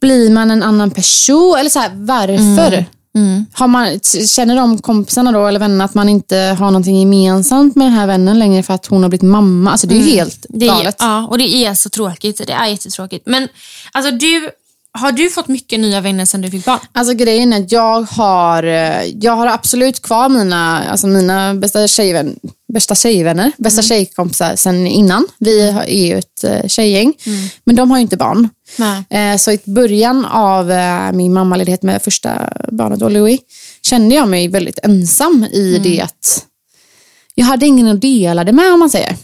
blir man en annan person? Eller så här, varför? Mm. Har man, känner de kompisarna då, eller vännerna att man inte har någonting gemensamt med den här vännen längre för att hon har blivit mamma? Alltså, det är ju helt Mm. Det är, galet. ja, och det är så tråkigt. Det är jättetråkigt. Men alltså du, har du fått mycket nya vänner sedan du fick barn? Alltså grejen är att jag har, eh, jag har absolut kvar mina, alltså mina bästa, tjejvän, bästa tjejvänner, bästa Mm. tjejkompisar sen innan. Vi har- är ju ett eh, tjejgäng, men de har ju inte barn. Mm. Nej. Eh, Så i början av eh, min mammaledighet med första barnet då, Louis, kände jag mig väldigt ensam Mm. i det att jag hade ingen att dela det med om man säger.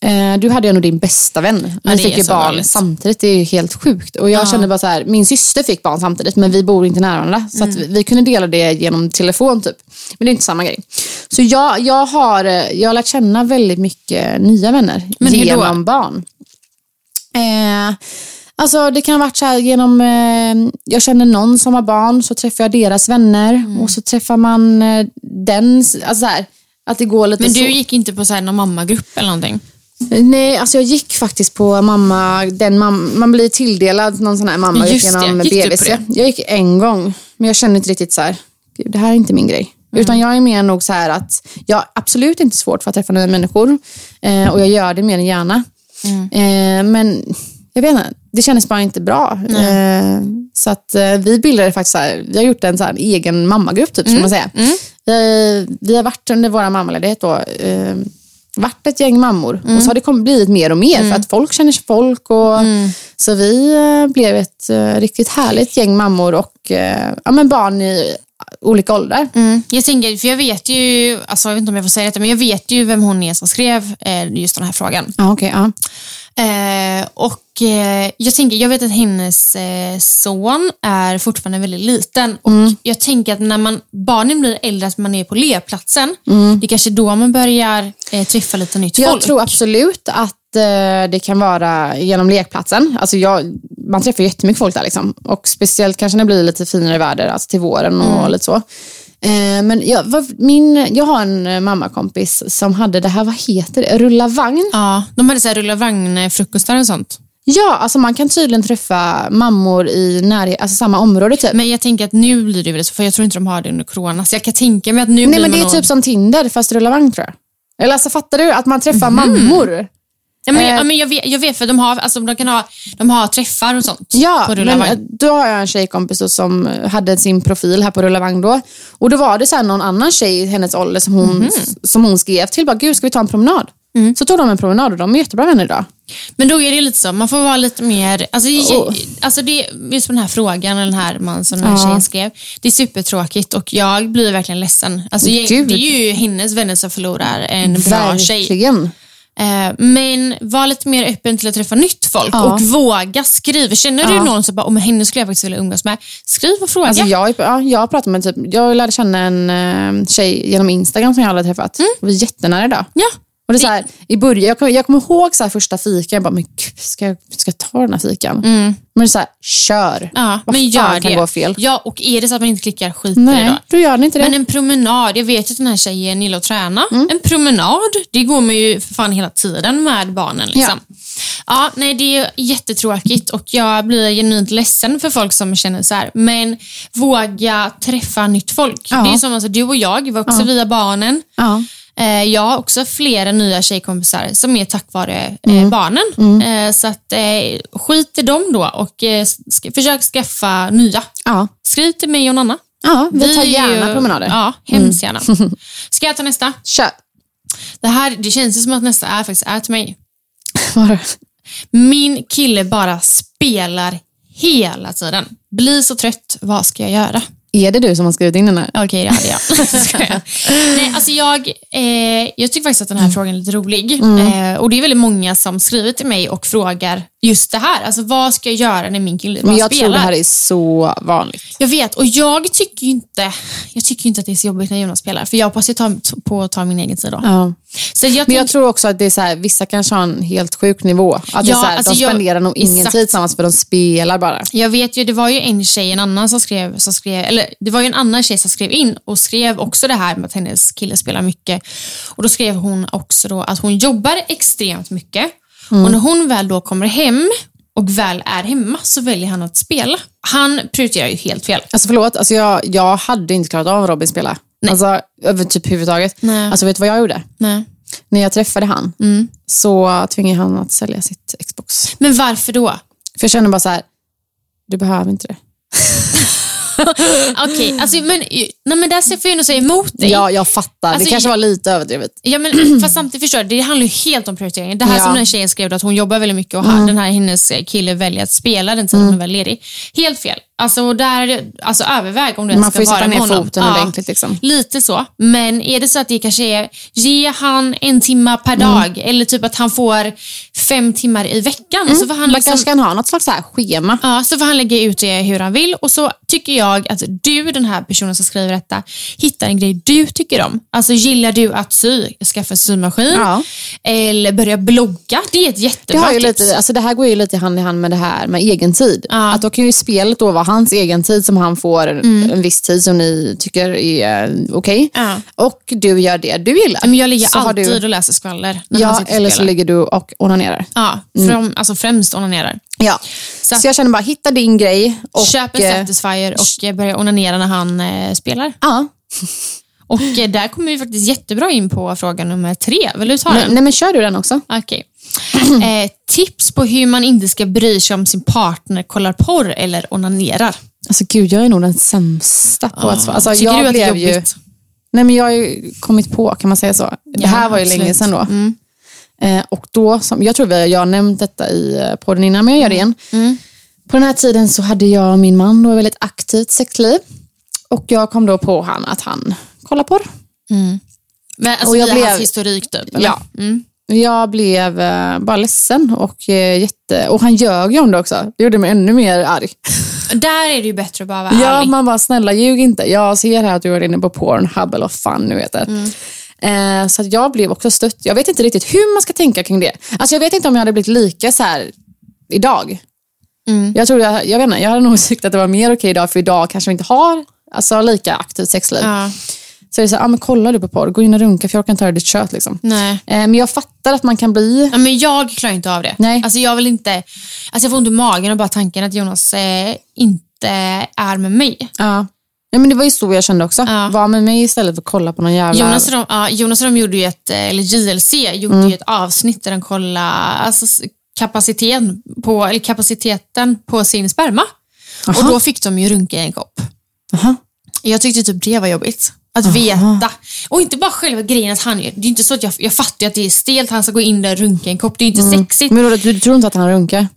Eh, Du hade ju ändå din bästa vän. Mm. det Vi fick är ju så barn galet. samtidigt, det är ju helt sjukt. Och jag kände bara så här, min syster fick barn samtidigt men vi bor inte nära varandra. Så att vi, Mm. vi kunde dela det genom telefon typ. Men det är inte samma grej. Så jag, jag, har, eh, jag har lärt känna väldigt mycket nya vänner Men hur då? genom barn. Eh, alltså det kan ha varit så här genom, eh, jag känner någon som har barn, så träffar jag deras vänner Mm. och så träffar man eh, den. Alltså så här, att det går lite Men så. du gick inte på så här någon mammagrupp eller någonting? Nej, alltså jag gick faktiskt på mamma, den mam- man blir tilldelad någon sån här mamma Just det, genom gick du på BVC. det? Jag gick en gång, men jag kände inte riktigt så här, "Gud, det här är inte min grej. Mm. Utan jag är mer nog så här att jag har absolut inte svårt för att träffa nya människor eh, och jag gör det mer än gärna. Mm. Eh, men jag vet inte, det kändes bara inte bra. Eh, så att eh, vi bildade faktiskt, så här, vi har gjort en så här egen mammagrupp typ, ska man säga. Vi, vi har varit under vår mammaledighet då, eh, varit ett gäng mammor och så har det kommit, blivit mer och mer för att folk känner sig folk. Och, Så vi eh, blev ett eh, riktigt härligt gäng mammor och eh, ja, men barn i olika åldrar. Jag tänker, för jag vet ju, alltså jag vet inte om jag får säga detta, men jag vet ju vem hon är som skrev eh, just den här frågan. Ja, okej, ja. Eh, och eh, jag tänker, jag vet att hennes eh, son är fortfarande väldigt liten och Mm. jag tänker att när man, barnen blir äldre, att man är på lekplatsen, det är kanske då man börjar eh, träffa lite nytt Mm. Jag folk. tror absolut att eh, det kan vara genom lekplatsen. Alltså jag, man träffar jättemycket folk där. Liksom. Och Speciellt kanske när det blir lite finare väder, alltså till våren och Mm. lite så. Eh, men jag, vad, min, jag har en eh, mammakompis som hade det här, vad heter det, rulla vagn? Ja, de hade så här rulla vagn-frukostar och sånt. Ja, alltså man kan tydligen träffa mammor i närhet, alltså samma område typ. Men jag tänker att nu blir det väl så, för jag tror inte de har det under corona, så jag kan tänka mig att nu Nej blir men det man är nog- typ som Tinder fast rulla vagn tror jag. Eller alltså fattar du? Att man träffar Mhm. mammor. Ja, men, Eh. ja, men jag, vet, jag vet för de har, alltså, de kan ha, de har träffar och sånt Ja, på men eh, rullarvagn. då har jag en tjejkompis då som eh, hade sin profil här på Rullavagn då. Och då var det så här någon annan tjej i hennes ålder som hon, Mhm. som hon skrev till. Bara, Gud, ska vi ta en promenad? Mm. Så tog de en promenad och de är jättebra vänner idag. Men då är det lite så, man får vara lite mer... Alltså, det- Oh. alltså det, just på den här frågan, eller den här man som den här Ja. tjejen skrev. Det är supertråkigt och jag blir verkligen ledsen. Alltså, Men jag, gud. det är ju hennes vänner som förlorar en bra tjej. Verkligen. Eh, Men var lite mer öppen till att träffa nytt folk Ja. och våga skriva. Känner du Ja. någon som bara, "Åh, men henne skulle jag faktiskt vilja umgås med. Skriv och fråga. Alltså jag, ja, jag pratade med typ, jag lärde känna en eh, tjej genom Instagram som jag aldrig träffat. Och vi är jättenära idag. Mm. Ja. Och det är så här, i början, jag, kommer, jag kommer ihåg så här första fikan, jag bara, men gud, ska jag, ska jag ta den här fikan? Men det är så här, kör. Mm. Ja, men Vad fan gör kan det. gå fel? Ja, och är det så att man inte klickar, skit i det Nej, då. då gör den inte det. Men en promenad, jag vet ju att den här tjejen gillar att träna. En promenad, det går man ju för fan hela tiden med barnen. Liksom. Ja. nej, det är jättetråkigt och jag blir genuint ledsen för folk som känner så här. Men våga träffa nytt folk. Ja. Det är ju som alltså, du och jag, var också via barnen. ja. Eh, Jag har också flera nya tjejkompisar som är tack vare eh, barnen. Eh, Så att, eh, skit i dem då och eh, sk- försök skaffa nya. Ja. Skriv till mig och Nanna. ja, vi tar är gärna ju- promenader. Mm. Ja, hemskt <laughs> gärna. Ska jag ta nästa? Kör. Det, här, det känns ju som att nästa är faktiskt är till mig. Vad har du? Min kille bara spelar hela tiden. Blir så trött, vad ska jag göra? Är det du som har skrivit in den här? Okej, det hade <laughs> jag. Skojar. Nej, alltså jag, eh, jag tycker faktiskt att den Mm. här frågan är lite rolig. Eh, och Det är väldigt många som skriver till mig och frågar just det här. Alltså, vad ska jag göra när min kille bara Men jag spelar? tror det här är så vanligt. Jag vet, och jag tycker ju inte, jag tycker ju inte att det är så jobbigt när Jonas spelar. För jag hoppas ju ta, på att ta min egen tid då. Ja. Så jag Men tänker- jag tror också att det är så här, vissa kanske har en helt sjuk nivå. Att det är Ja, så här, alltså de jag- spenderar nog ingen exakt. tid tillsammans för de spelar bara. Alltså Jag vet ju, det var ju en tjej, en annan som skrev, som skrev eller det var ju en annan tjej som skrev in och skrev också det här med att hennes kille spelar mycket. Och då skrev hon också då att hon jobbar extremt mycket och Mm. när hon väl då kommer hem och väl är hemma så väljer han att spela. Han prioriterar ju helt fel. Alltså förlåt, alltså jag, jag hade inte klarat av Robin spela. Alltså över typ huvudtaget. Nej. Alltså vet du vad jag gjorde? Nej. Mm. När jag träffade han så tvingade han att sälja sitt Xbox. Men varför då? För jag känner bara så här, du behöver inte det. Okej, alltså, men, nej, men där får jag nog säga emot dig. Ja, jag fattar. Alltså, det kanske var lite överdrivet. Ja, <clears throat> men, fast samtidigt förstår jag, det handlar ju helt om prioritering. Det här Ja. som den här tjejen skrev, då, att hon jobbar väldigt mycket och den här hennes kille väljer att spela den tiden Mm. hon är väl ledig. Helt fel. Alltså, där, alltså överväg om du ens Man ska får ju vara sätta med ner honom. foten ordentligt. Liksom. Lite så, men är det så att det kanske är, ge han en timma per Mm. dag eller typ att han får fem timmar i veckan. Så får han Mm. Man liksom, kanske kan ha något slags så här schema. Ja, så får han lägga ut det hur han vill och så tycker jag att du, den här personen som skriver detta, hittar en grej du tycker om. Alltså gillar du att sy, skaffa en symaskin Ja. eller börja blogga. Det är ett Det, jättebra har ju tips. lite, alltså det här går ju lite hand i hand med det här med egen tid. Ja. Att då kan ju spelet då vara hans egen tid som han får en, en viss tid som ni tycker är eh, okej. Ja. Och du gör det du gillar. Men jag ligger Så har alltid du, och läser skvaller. När han Ja, sitter och eller så spelar. ligger Mm. du och onanerar. Ja, fram, alltså främst onanerar. Ja. Så Så, att- jag känner bara, hitta din grej. Och, Köp eh, en Satisfyer och eh, börja onanera när han eh, spelar. Ja. Och eh, där kommer vi faktiskt jättebra in på fråga nummer tre. Vill du ta den? Men, nej, men kör du den också? Okej. Eh, tips på hur man inte ska bry sig om sin partner kollar porr eller onanerar. Alltså gud, jag är nog den sämsta på att svara. Alltså, Tycker jag du att det är blev ju... jobbigt? Nej, men jag har ju kommit på, kan man säga så. det här var ju absolut. länge sedan då. Eh, och då som, jag tror vi, jag har nämnt detta i eh, podden innan, men jag gör det igen. På den här tiden så hade jag och min man då ett väldigt aktivt sexliv. Och jag kom då på han att han kollar på Men, alltså, Och jag via blev- hans historik typ? Eller? Ja. Jag blev eh, bara ledsen och, eh, jätte, och han ljög ju om det också. Det gjorde mig ännu mer arg. Där är det ju bättre att bara vara Ja, ärlig. man bara snälla ljug inte. Jag ser här att du är inne på Pornhub eller vad fan nu heter. Mm. Eh, så att jag blev också stött. Jag vet inte riktigt hur man ska tänka kring det. Alltså jag vet inte om jag hade blivit lika så här idag. Mm. Jag tror jag, jag vet inte, jag hade nog <laughs> tyckt att det var mer okej idag, för idag kanske vi inte har alltså, lika aktivt sexliv. Ja. Så det är så här, ah, men kollar du på porr, gå in och runka för jag kan inte höra ditt kött. Liksom. Nej. Eh, men jag fattar att man kan bli Ja, men jag klarar inte av det. Nej. Alltså, jag vill inte... Alltså, jag får ont i magen och bara tanken att Jonas eh, inte är med mig. Ja. Nej, men det var ju så jag kände också. Ja. Var med mig istället för att kolla på någon jävla... Jonas och, de, ja, Jonas och de gjorde ju ett, eh, eller JLC gjorde Mm. ju ett avsnitt där de kollade alltså, s- kapaciteten, på, eller kapaciteten på sin sperma. Och då fick de ju runka i en kopp. Jaha. Jag tyckte typ det var jobbigt. Att veta. Och inte bara själva grejen att han gör. Det är ju inte så att jag, jag fattar ju att det är stelt. Han ska gå in där och runka i en kopp. Det är ju inte sexigt. Mm. Men då, du tror inte att han runkar?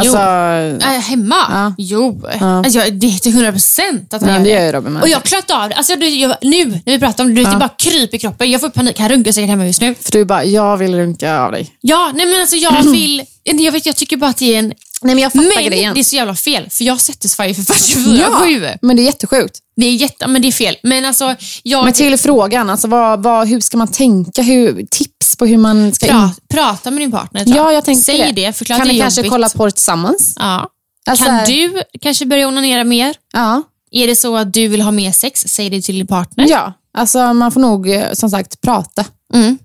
Alltså, Äh, hemma? Ja. Jo. Alltså, jag, det är till 100 procent att han nej, det gör ju Robin med. Och jag klart av det. Alltså, du, jag, nu när vi pratar om det, du vet, det bara kryper i kroppen. Jag får panik. Han runkar säkert hemma just nu. För du bara, jag vill runka av dig. Ja, nej men alltså <clears throat> jag vill... Jag, vet, jag tycker bara att det är en... Nej, men jag Men det är så jävla fel, för jag sätter Sverige för 44 Ja, men det är jättesjukt. Det är jätte... Men det är fel. Men alltså, jag... Men till frågan, alltså, vad, vad, hur ska man tänka? Hur, tips på hur man ska... pra, prata med din partner. tror Ja, jag tänker Säg det. det. förklara kan att det vi är kanske jobbigt. kolla porr tillsammans? Ja. Alltså- kan du kanske börja onanera mer? Ja. Är det så att du vill ha mer sex, säg det till din partner. ja. Alltså, man får nog eh, som sagt prata. Mm.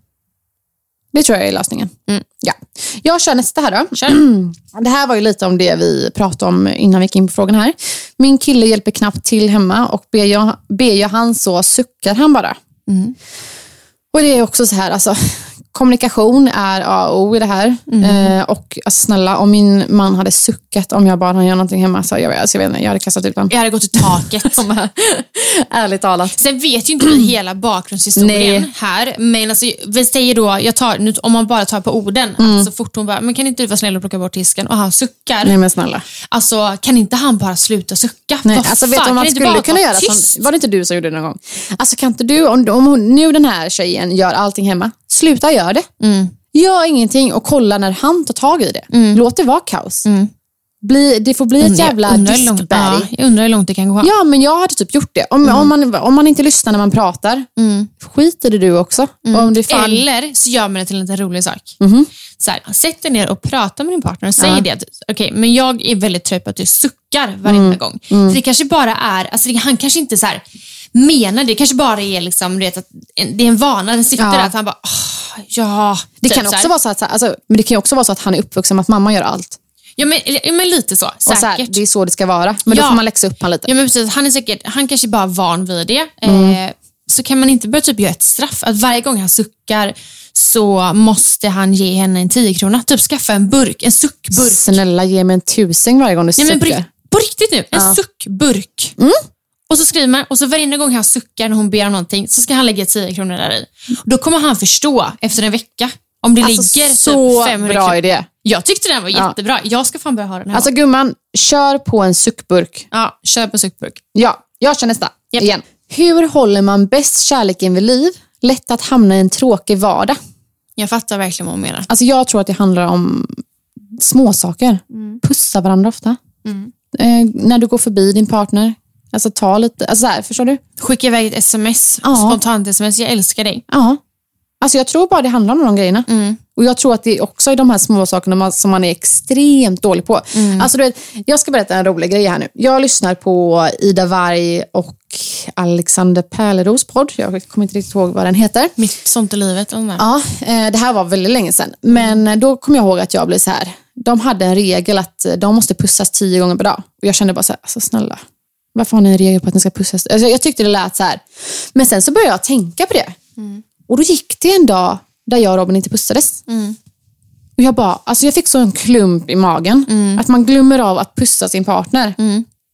Det tror jag är lösningen. Ja. Jag kör nästa här då. Kör. <clears throat> Det här var ju lite om det vi pratade om innan vi gick in på frågan här. Min kille hjälper knappt till hemma och ber jag, ber jag han så suckar han bara. Och det är också så här, alltså, kommunikation är A och O i det här. Eh, och alltså, snälla, om min man hade suckat om jag bad han göra någonting hemma, så jag, alltså, jag, vet inte, jag hade kastat ut honom. Jag hade gått i <laughs> taket. Ärligt talat. Sen vet ju inte vi hela bakgrundshistorien Nej. här, men alltså, vi säger då, jag tar, nu, om man bara tar på orden, Mm. att så fort hon bara, men kan inte du vara snäll och plocka bort disken och han suckar, Nej men snälla. alltså kan inte han bara sluta sucka? Nej, Vad alltså, fan, vet du vad kan man inte skulle bara kunna vara göra? tyst? Som, var det inte du som gjorde det någon gång? Alltså kan inte du, om, om hon, nu den här tjejen gör allting hemma, sluta göra det. Mm. Gör ingenting och kolla när han tar tag i det. Låt det vara kaos. Bli, det får bli ett jävla Jag undrar Mm. hur långt- diskberg. ja, Mm. Jag undrar hur långt det kan gå. Ja, men jag hade typ gjort det. Om, om, man, om man inte lyssnar när man pratar, skiter det du också. Om det fan... Mm. Eller så gör man det till en liten rolig sak. Mhm. Så här, sätt dig ner och prata med din partner och säg det att okej, men jag är väldigt trött på att du suckar varenda Mm. gång. För det kanske bara är, alltså det, han kanske inte så här, menar det, det kanske bara är liksom, du vet, att en, det är en vana, den sitter Ja. där att han bara, "Ah, ja. det typ kan så här. också vara så att, alltså, men det kan ju också vara så att han är uppvuxen med att mamma gör allt. Ja men, ja, men lite så, Och säkert. så här, det är så det ska vara. Men Ja. då får man läxa upp han lite. Ja, men precis. Han, är säkert, han kanske bara är van vid det. Mm. Eh, så kan man inte börja typ göra ett straff. Att varje gång han suckar så måste han ge henne en 10 krona. Typ skaffa en burk, en suckburk. Snälla ge mig en tusing varje gång du Nej, men på, suckar. Mm. rikt- på riktigt nu, en suckburk. Och så skriver man och så varenda gång han suckar när hon ber om någonting så ska han lägga 10 kronor där i. Då kommer han förstå efter en vecka om det Alltså, ligger så typ 500 bra kronor. idé. Jag tyckte den var Ja. jättebra. Jag ska fan börja ha den här. Alltså gumman, kör på en suckburk. ja, köp en suckburk. Ja, jag kör nästa. Japp. Igen. Hur håller man bäst kärleken vid liv? Lätt att hamna i en tråkig vardag. Jag fattar verkligen vad hon menar. Alltså jag tror att det handlar om småsaker. Mm. Pussa varandra ofta. Eh, när du går förbi din partner. Alltså ta lite, alltså så här, förstår du? Skicka iväg ett sms, Ja. spontant sms. Jag älskar dig. Ja. Alltså jag tror bara det handlar om de grejerna. Mm. Och jag tror att det är också är de här små sakerna man, som man är extremt dålig på. Mm. Alltså du vet, jag ska berätta en rolig grej här nu. Jag lyssnar på Ida Varg och Alexander Pärleros podd. Jag kommer inte riktigt ihåg vad den heter. Mitt sånt i livet. Och ja. Ja, eh, det här var väldigt länge sedan. Men eh, då kom jag ihåg att jag blev så här. De hade en regel att eh, de måste pussas tio gånger per dag. Och jag kände bara så här, alltså snälla. Varför har ni en regel på att ni ska pussas? Alltså, jag tyckte det lät så här. Men sen så började jag tänka på det. Och då gick det en dag där jag och Robin inte pussades. Mm. Och jag bara, alltså jag fick så en klump i magen. Mm. Att man glömmer av att pussa sin partner.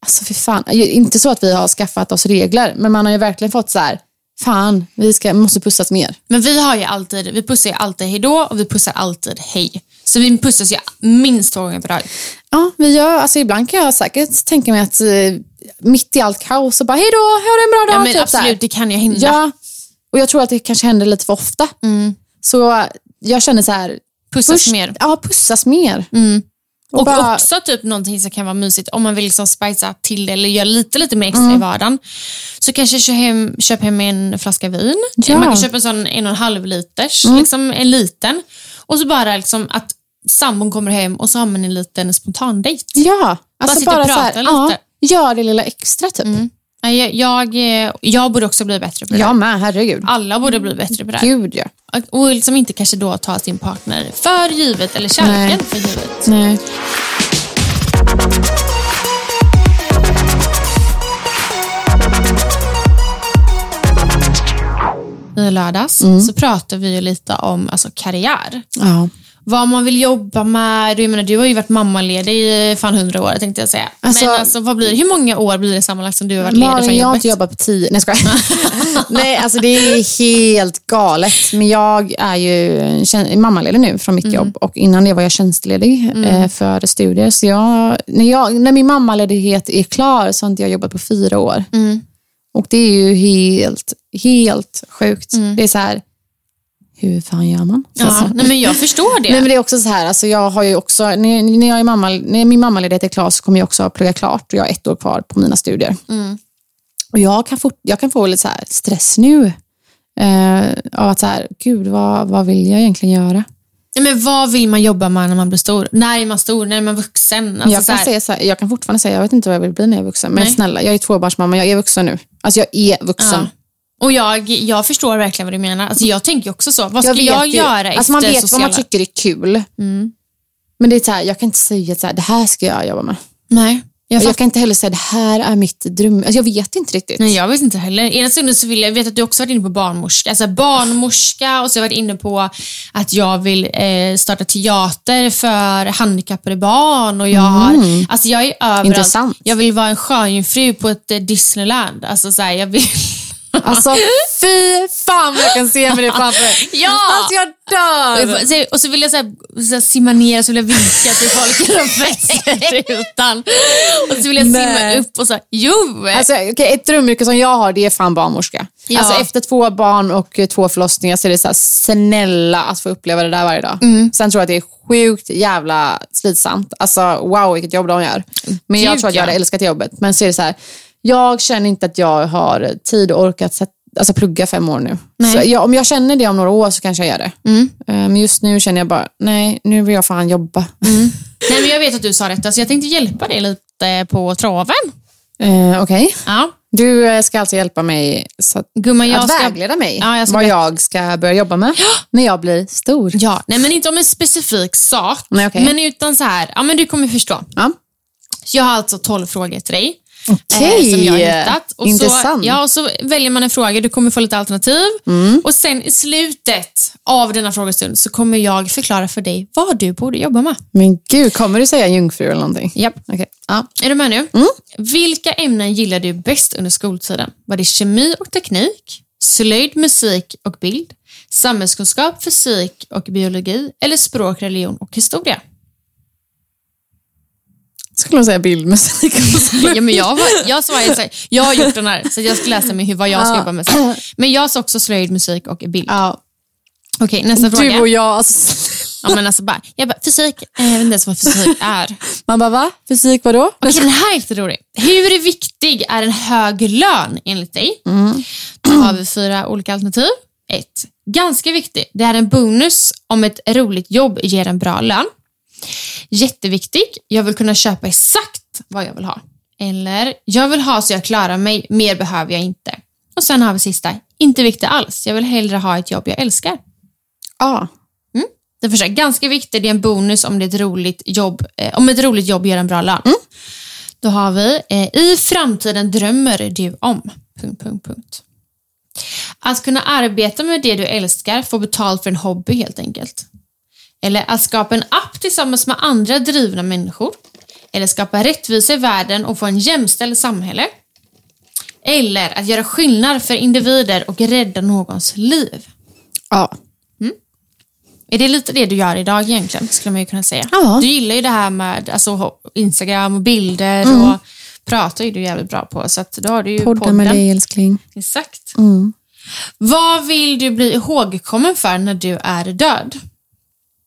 Alltså för fan, ju- inte så att vi har skaffat oss regler. Men man har ju verkligen fått så här, fan, vi ska, måste pussas mer. Men vi, har ju alltid, vi pussar ju alltid hej då och vi pussar alltid hej. Så vi pussas ju minst två gånger per dag. Ja, vi gör, alltså ibland kan jag säkert tänka mig att eh, mitt i allt kaos så bara hej då, ha en bra dag. Ja, men typ så här. absolut, det kan ju hända. Ja, och jag tror att det kanske händer lite för ofta. Mm. Så jag känner så här, Pussas först- mer. Ja, pussas mer. Och, Och, bara, också typ någonting som kan vara mysigt om man vill liksom spicea till det eller göra lite, lite mer extra Mm. i vardagen. Så kanske köp hem, köp hem en flaska vin. Ja. Mm. Man kan köpa en sån en och en halv liters, liksom en liten. Och så bara liksom att sambon kommer hem och så har man en liten spontan dejt. ja, alltså sitta och bara, så här, prata ja, lite. gör det lilla extra typ. Nej, Jag, jag, eh, jag borde också bli bättre på det. Jag där. med, herregud. Alla borde bli bättre på det. här. Gud ja. Och och liksom inte kanske då ta sin partner för givet eller kärleken för givet. Nej. i lördags Mm. så pratade vi ju lite om alltså, karriär. Ja. Vad man vill jobba med. Jag menar, du har ju varit mammaledig i fan hundra år tänkte jag säga. Alltså- Men alltså, vad blir det? Hur många år blir det sammanlagt som du har varit ledig Malin, från jag har jobbet? inte jobbat på tio... Nej, jag <laughs> skojar. Nej, alltså det är helt galet. Men jag är ju tjän- mammaledig nu från mitt jobb och innan det var jag tjänstledig eh, för studier. Så jag, när, jag, när min mammaledighet är klar så har inte jag jobbat på fyra år. Och det är ju helt, helt sjukt. Det är så här, hur fan gör man? Ja, nej, men jag förstår det. Nej, men det är också så här, alltså jag har ju också, när, när, jag är mamma, när min mammaledighet är klar så kommer jag också ha pluggat klart och jag har ett år kvar på mina studier. Mm. Och jag kan, få, jag kan få lite så här stress nu eh, av att så här, gud vad, vad vill jag egentligen göra? Nej, men vad vill man jobba med när man blir stor? När är man stor? När är man vuxen? Alltså, jag, så kan här, säga så här, jag kan fortfarande säga, jag vet inte vad jag vill bli när jag är vuxen, men Nej. snälla, jag är tvåbarnsmamma, jag är vuxen nu. Alltså jag är vuxen. Ja. Och jag, jag förstår verkligen vad du menar. Alltså, jag tänker ju också så. Vad ska vet jag, ju- göra alltså man efter vet sociala? vad man tycker är kul. Mm. Men det är så här, jag kan inte säga att så här, det här ska jag jobba med. Nej, jag Jag, fattar. kan inte heller säga det här är mitt dröm. Alltså, jag vet inte riktigt. Nej, jag vet inte heller. Ena stunden så vill jag, jag vet att du också varit inne på barnmorska, alltså barnmorska och så har jag varit inne på att jag vill eh, starta teater för handikappade barn och jag har, alltså jag är överallt. Mm. Intressant. Jag vill vara en sjöjungfru på ett eh, Disneyland. Alltså så här, jag vill... Alltså fy fan vad jag kan <laughs> se mig det framför mig. Ja! Alltså jag Och dör. jag får- Och så vill jag så här, så här simma ner, så vill jag vinka till folk genom fönsterrutan. Och så vill jag simma Nej. upp och så, jo! Alltså, okej, ett drömyrke som jag har det är fan barnmorska. Ja. Alltså, efter två barn och eh, två förlossningar så är det så här, snälla att få uppleva det där varje dag. Mm. Sen tror jag att det är sjukt jävla slitsamt. Alltså wow vilket jobb de gör. Men jag Gud, tror att jag hade ja. älskat jobbet. Men så är det så här, jag känner inte att jag har tid och orkat sätt, alltså, plugga fem år nu. Så jag, om jag känner det om några år så kanske jag gör det. Mm. Eh, Men just nu känner jag bara, nej nu vill jag fan jobba. Nej, men jag vet att du sa detta, så jag tänkte hjälpa dig lite på traven. Mm. Eh, Okej. Ja. Du eh, ska alltså hjälpa mig så att, Gumman, jag att ska- vägleda mig Ja, jag ska vad berätta. jag ska börja jobba med när jag blir stor. Ja, nej men inte om en specifik sak, Nej, okej. men utan så här, ja men du kommer förstå. Ja. Så jag har alltså 12 frågor till dig. Okej. eh, som jag har hittat. Och Intressant. Mm. Så, ja, och så väljer man en fråga, du kommer få lite alternativ. Och sen i slutet av denna frågestund så kommer jag förklara för dig vad du borde jobba med. Men gud, kommer du säga jungfru eller någonting? Japp. Okej. Ja. Är du med nu? Mm. Vilka ämnen gillar du bäst under skoltiden? Var det kemi och teknik, slöjd, musik och bild, samhällskunskap, fysik och biologi eller språk, religion och historia? <laughs> Skulle hon säga bildmusik? Ja, men <laughs> jag, var, jag, svarade, så här, jag har gjort den här, så jag ska läsa mig hur, vad jag ska jobba med. sen. Men jag sa också slöjd, musik och bild. ja. Okej, nästa Du och fråga. jag. Alltså, <laughs> Ja, men alltså bara, jag bara, fysik, eh, jag vet inte ens vad fysik är. man bara, va? Fysik vadå? Okej, den här är lite rolig. Hur viktig är en hög lön enligt dig? Då har vi fyra olika alternativ. Ett, ganska viktig. Det är en bonus om ett roligt jobb ger en bra lön. Jätteviktig. Jag vill kunna köpa exakt vad jag vill ha. Eller, jag vill ha så jag klarar mig. Mer behöver jag inte. Och sen har vi sista, inte viktig alls. Jag vill hellre ha ett jobb jag älskar. Ja. Den första, ganska viktig, det är en bonus om, det är ett, roligt jobb, eh, om ett roligt jobb ger en bra lön. Då har vi, eh, i framtiden drömmer du om... Punkt, punkt, punkt. Att kunna arbeta med det du älskar, få betalt för en hobby helt enkelt. Eller att skapa en app tillsammans med andra drivna människor. Eller skapa rättvisa i världen och få en jämställd samhälle. Eller att göra skillnad för individer och rädda någons liv. ja. Är det lite det du gör idag egentligen, skulle man ju kunna säga. Ja. Du gillar ju det här med alltså, ho- Instagram och bilder Mm. och pratar ju du jävligt bra på, så att då har du ju Podda podden. med dig älskling. Exakt. Vad vill du bli ihågkommen för när du är död? <laughs>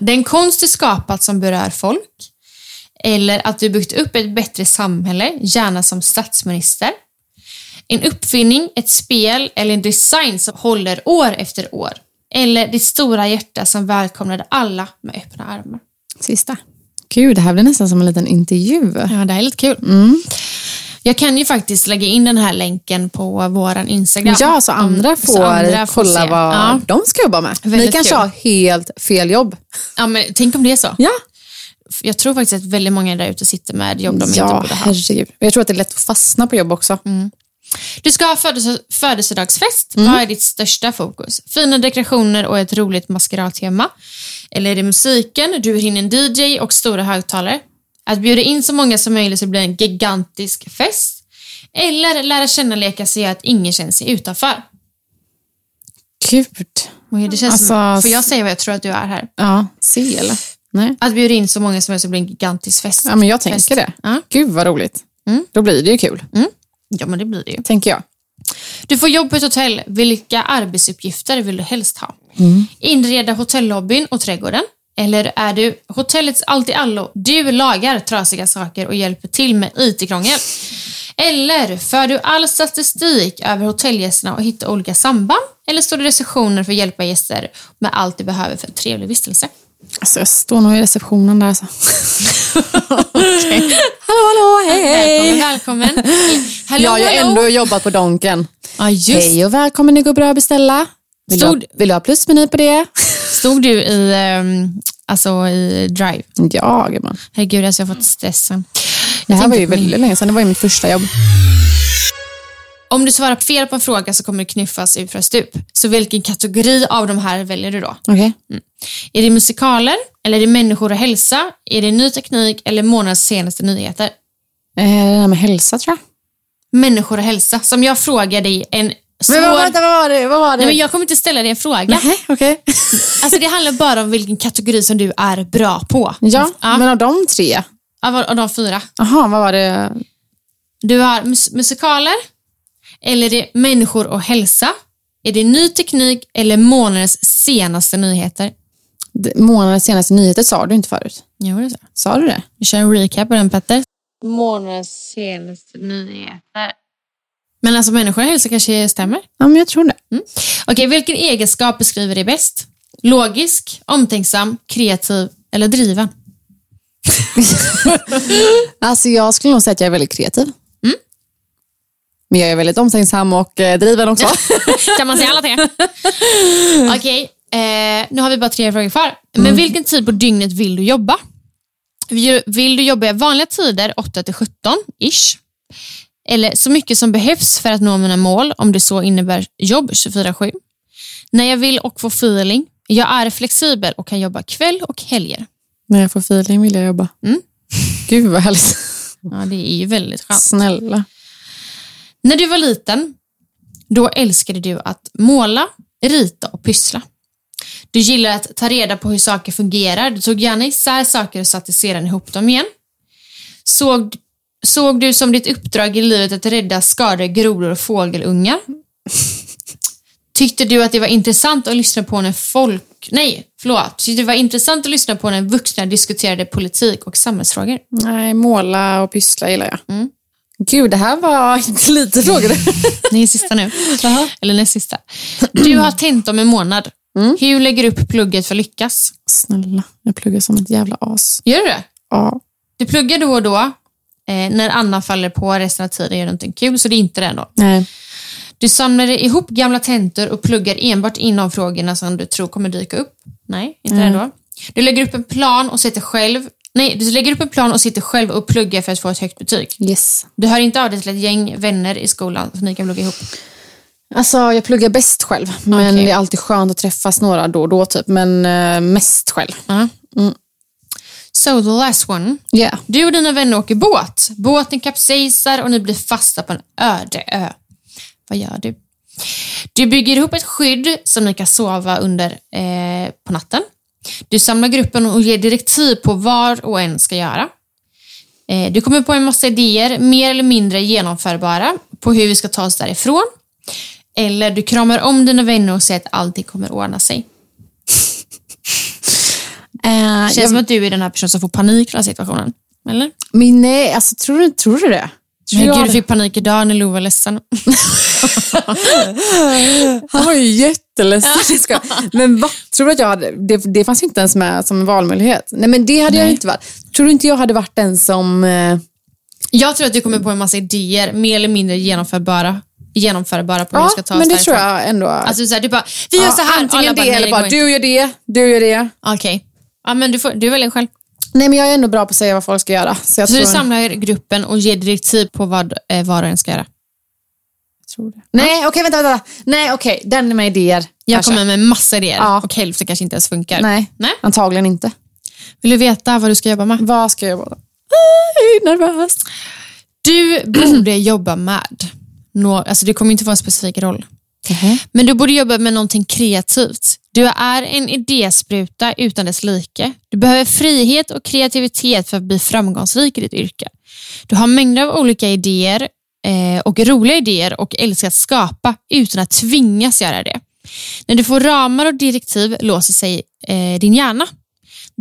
Den konst du skapat som berör folk. Eller att du byggt upp ett bättre samhälle, gärna som statsminister. En uppfinning, ett spel eller en design som håller år efter år. Eller ditt stora hjärta som välkomnade alla med öppna armar. Sista. Gud, det här blir nästan som en liten intervju. Ja, det här är lite kul. Mm. Jag kan ju faktiskt lägga in den här länken på våran Instagram. Ja, så andra Mm, får, får kolla se. vad Ja. de ska jobba med. Ni Väldigt kanske kul. har helt fel jobb. ja, men tänk om det är så. Ja. Jag tror faktiskt att väldigt många där ute sitter med jobb de ja, inte borde ha. herregud. Och Jag tror att det är lätt att fastna på jobb också. Du ska ha födelses- födelsedagsfest. Mm. Vad är ditt största fokus? Fina dekorationer och ett roligt maskeradtema. Eller är det musiken, du hinner en DJ och stora högtalare? Att bjuda in så många som möjligt så det blir en gigantisk fest. Eller lära känna leka så att ingen känner sig utanför. Gud. Oj, det känns som, Alltså, får jag säga vad jag tror att du är här? Ja, sel. Nej. Att bjuda in så många som möjligt så det blir en gigantisk fest. Ja, men jag tänker Fest. det. Ja. Gud vad roligt. Då blir det ju kul, Ja, men det blir det ju. tänker jag. Du får jobb på ett hotell. Vilka arbetsuppgifter vill du helst ha? Inreda hotellobbyn och trädgården. Eller är du hotellets allt-i-allo? Du lagar trasiga saker och hjälper till med IT-krångel. Eller för du all statistik över hotellgästerna och hittar olika samband? Eller står du i receptionen för att hjälpa gäster med allt de behöver för en trevlig vistelse? Alltså, jag står nog i receptionen där. <laughs> Så. Hallå, hallå, Välkommen, välkommen. Hallå, Jag har ju hallå. ändå jobbat på Donken. Ja, just Hej och välkommen, det går bra att beställa. Vill, Stod- du, ha, vill du ha plusmeny på det? Stod du i, ehm, alltså i Drive? Ja, gumman. Herregud, alltså jag har fått stressen. Det här var tänkte ju på min- väldigt länge sedan. Det var ju mitt första jobb. Om du svarar fel på en fråga så kommer du knuffas ut från stup. Så vilken kategori av de här väljer du då? Okej. Är det musikaler, eller är det människor och hälsa? Är det ny teknik eller månadens senaste nyheter? Eh, det här med hälsa, tror jag. Människor och hälsa, som jag frågade i en svår... vad var det? Vad var Nej, men jag kommer inte ställa dig en fråga. Nej, okej. Alltså, det handlar bara om vilken kategori som du är bra på. Ja, Ja. men av de tre. Av, av de fyra. Jaha, vad var det? Du har mus- musikaler, eller är det människor och hälsa? Är det ny teknik eller månadens senaste nyheter? D- Månadens senaste nyheter sa du inte förut. Jo, det är så. Sa du det? Vi kör en recap på den Petter. Månadens senaste nyheter. Men alltså människor och hälsa kanske stämmer. Ja, men jag tror det. Okej, vilken egenskap beskriver dig bäst? Logisk, omtänksam, kreativ eller driven? Alltså, jag skulle nog säga att jag är väldigt kreativ. Mm. Men jag är väldigt omtänksam och eh, driven också. Kan man säga alla tre? Okej, eh, nu har vi bara tre frågor kvar. Men vilken tid på dygnet vill du jobba? Vill- Vill du jobba i vanliga tider, 8 till 17 ish? Eller så mycket som behövs för att nå mina mål, om det så innebär jobb 24-7? När jag vill och får feeling. Jag är flexibel och kan jobba kväll och helger. <laughs> När jag får feeling vill jag jobba. Gud vad härligt. Mm. Ja, det är ju väldigt skönt. Snälla. När du var liten, då älskade du att måla, rita och pyssla. Du gillade att ta reda på hur saker fungerar. Du tog gärna isär saker och satte sedan ihop dem igen. Såg, såg du som ditt uppdrag i livet att rädda skadade grodor och fågelungar? Tyckte du att det var intressant att lyssna på när folk... Nej, förlåt. Tyckte det var intressant att lyssna på när vuxna diskuterade politik och samhällsfrågor? Nej, måla och pyssla gillar jag. Mm. Gud, det här var <laughs> inte lite frågor. Nej, sista nu. Eller näst sista. Du har tentor om en månad. Hur lägger du upp plugget för att lyckas? Snälla, jag pluggar som ett jävla as. Gör du det? Ja. Du pluggar då och då. Eh, när Anna faller på resten av tiden gör du någonting kul, så det är inte det ändå. Nej. Du samlar ihop gamla tentor och pluggar enbart inom frågorna som du tror kommer dyka upp. Nej, inte det ändå. Du lägger upp en plan och sitter själv Nej, du lägger upp en plan och sitter själv och pluggar för att få ett högt betyg. Yes. Du hör inte av dig till ett gäng vänner i skolan som ni kan plugga ihop. Alltså, jag pluggar bäst själv. Men Okej. det är alltid skönt att träffas några då och då, typ. men eh, mest själv. So the last one. Yeah. Mm. Du och dina vänner åker båt. Båten kapsejsar och ni blir fasta på en öde ö. Vad gör du? Du bygger ihop ett skydd som ni kan sova under eh, på natten. Du samlar gruppen och ger direktiv på vad och en ska göra. Eh, du kommer på en massa idéer, mer eller mindre genomförbara, på hur vi ska ta oss därifrån. Eller du kramar om dina vänner och säger att allting kommer ordna sig. <laughs> Eh, Känns jag, som att du är den här personen som får panik i den här situationen. Eller? men nej, alltså, tror, du, tror du det? Tror Men gud, jag du det? fick panik idag när Lo var ledsen. Han <laughs> var ju jätteledsen. Jag skojar. Men vad Tror du att jag hade... Det, det fanns ju inte ens med som en valmöjlighet. Nej, men det hade jag inte varit. Tror du inte jag hade varit den som... eh, Jag tror att du kommer på en massa idéer, mer eller mindre genomförbara, genomförbara på hur Ja, vi ska ta oss men det därifrån. tror jag ändå. Alltså så här, du bara, vi gör Ja, så här. antingen Alla det "Nej, eller bara, går inte." du gör det, du gör det. Okej. Ja, men du, får, du väljer själv. Nej, men jag är ändå bra på att säga vad folk ska göra. Så jag Så du tror... typ samlar gruppen och ger direktiv på vad eh, var och en ska göra. tror det. Nej, okej, vänta, vänta. Nej, okej, den med idéer. Jag kanske. kommer med massa idéer Ja. och hälften kanske inte ens funkar. Nej, Nej. antagligen inte. Vill du veta vad du ska jobba med? Vad ska jag göra? Aj, nervös. Du borde <clears throat> jobba med, nå, alltså det kommer inte vara en specifik roll, men du borde jobba med någonting kreativt. Du är en idéspruta utan dess like. Du behöver frihet och kreativitet för att bli framgångsrik i ditt yrke. Du har mängder av olika idéer eh, och roliga idéer och älskar att skapa utan att tvingas göra det. När du får ramar och direktiv låser sig eh, din hjärna.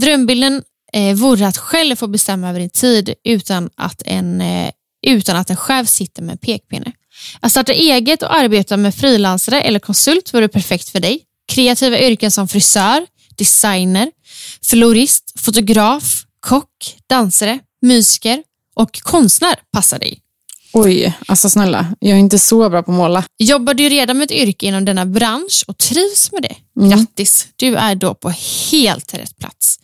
Drömbilden eh, vore att själv få bestämma över din tid utan att en, eh, utan att en chef sitter med en pekpinne. Att starta eget och arbeta med frilansare eller konsult vore perfekt för dig. Kreativa yrken som frisör, designer, florist, fotograf, kock, dansare, musiker och konstnär passar dig. Oj, alltså snälla, jag är inte så bra på att måla. Jobbar du redan med ett yrke inom denna bransch och trivs med det? Mm. Grattis, du är då på helt rätt plats.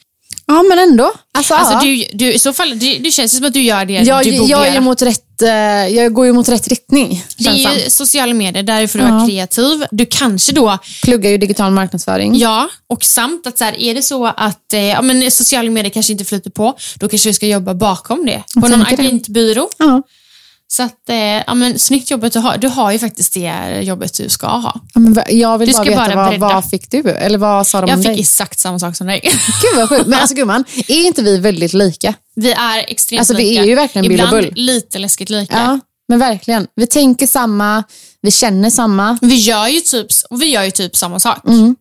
Ja, men ändå. Alltså, ja. Alltså, du, du, i så fall, det, det känns ju som att du gör det jag, du borde jag, är göra. ju mot rätt, eh, jag går ju mot rätt riktning. Det känns är det ju sociala medier, där får du vara Ja. kreativ. Du kanske då, Pluggar ju digital marknadsföring. ja, och samt att så här, är det så att eh, ja, men sociala medier kanske inte flyter på, då kanske du ska jobba bakom det. På någon tänker det. agentbyrå. Ja. Så att, eh, ja, men, snyggt jobbat du har. Du har ju faktiskt det jobbet du ska ha. Ja, men va- jag vill Du bara ska veta, bara vad, bredda. vad fick du? Eller vad sa de om Jag fick dig? exakt samma sak som dig. <laughs> Gud vad sjukt. Men alltså gumman, är inte vi väldigt lika? Vi är extremt Alltså, vi lika. är ju verkligen Bill och Ibland Bull. lite läskigt lika. Ja, men verkligen. Vi tänker samma, vi känner samma. Vi, gör ju typ, och vi gör ju typ samma sak. Mm.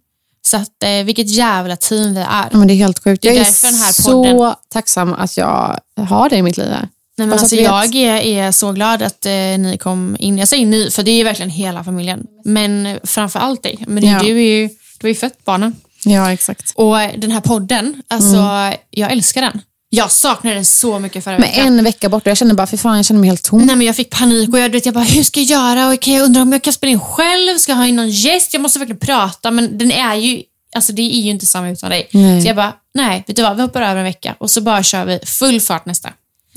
Så att, eh, vilket jävla team vi är. Ja, men det är helt sjukt. Det är jag är därför den här podden- så tacksam att jag har dig i mitt liv. Här. Nej, men Bara så alltså, att du jag vet. är, är så glad att eh, ni kom in. Jag säger ni, för det är verkligen hela familjen. Men eh, framför allt dig. Men det, Ja. du, är ju, du har ju fött barnen. Ja, exakt. Och eh, den här podden, alltså, jag älskar den. Jag saknar den så mycket förra Mm. Men veckan. en vecka bort och jag känner bara, för fan jag känner mig helt tom. Nej, men jag fick panik och jag, du vet, jag bara, hur ska jag göra? Och kan jag undrar om jag kan spela in själv? Ska jag ha in någon gäst? Jag måste verkligen prata, men den är ju, alltså, det är ju inte samma utan dig. Nej. Så jag bara, nej, vet du vad, vi hoppar över en vecka och så bara kör vi full fart nästa.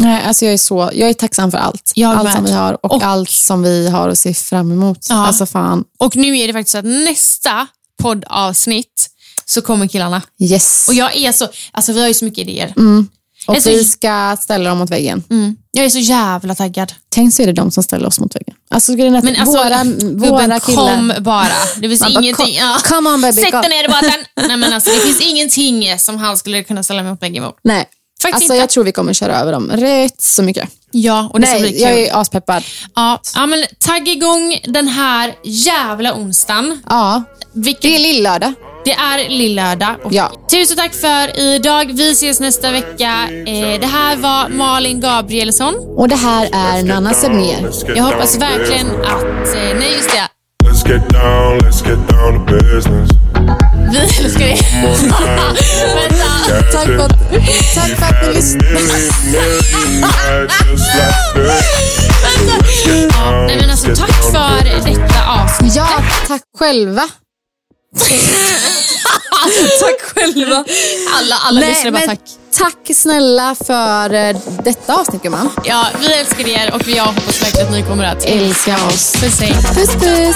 Nej, alltså jag är så, jag är tacksam för allt. Jag allt med. som vi har och, Och- allt som vi har att se fram emot. Ja. Alltså fan, Och nu är det faktiskt så att nästa poddavsnitt så kommer killarna. yes. Och jag är så, alltså vi har ju så mycket idéer. Mm. Och Alltså- vi ska ställa dem mot väggen. Mm. Jag är så jävla taggad. Tänk så är det de som ställer oss mot väggen. Alltså, grejen är att Men alltså, våra, gubben, våra killar... kom bara. Det <laughs> finns Man bara, ingenting. "Kom- come on, baby, Sätt come." dig ner i <laughs> båten. Nej, men alltså, det finns ingenting som han skulle kunna ställa mig upp väggen mot. Nej. Faktiskt alltså, inte. jag tror vi kommer köra över dem rätt så mycket. Ja, och det ska bli kul. Nej, jag är aspeppad. Ja, ja, men tagg igång den här jävla onsdagen. Ja. Vilket, Det är lillördag. det är lillördag. Och Ja. Tusen tack för idag. Vi ses nästa vecka. Eh, det här var Malin Gabrielsson. Och det här är Nanna Sebner. Jag hoppas verkligen att... Eh, nej, just det. Let's get down, let's get down to business. Vi älskar er. <laughs> Vänta. Tack för att, tack för att ni lyssnade. Vänta. Ja, nej, men alltså, tack för detta avsnitt. Ja, tack <laughs> själva. tack själva. Alla, alla lyssnare bara tack. tack snälla för eh, detta avsnitt gumman. Ja, vi älskar er och jag hoppas verkligen att ni kommer att Älska oss. Puss, hej. Puss puss.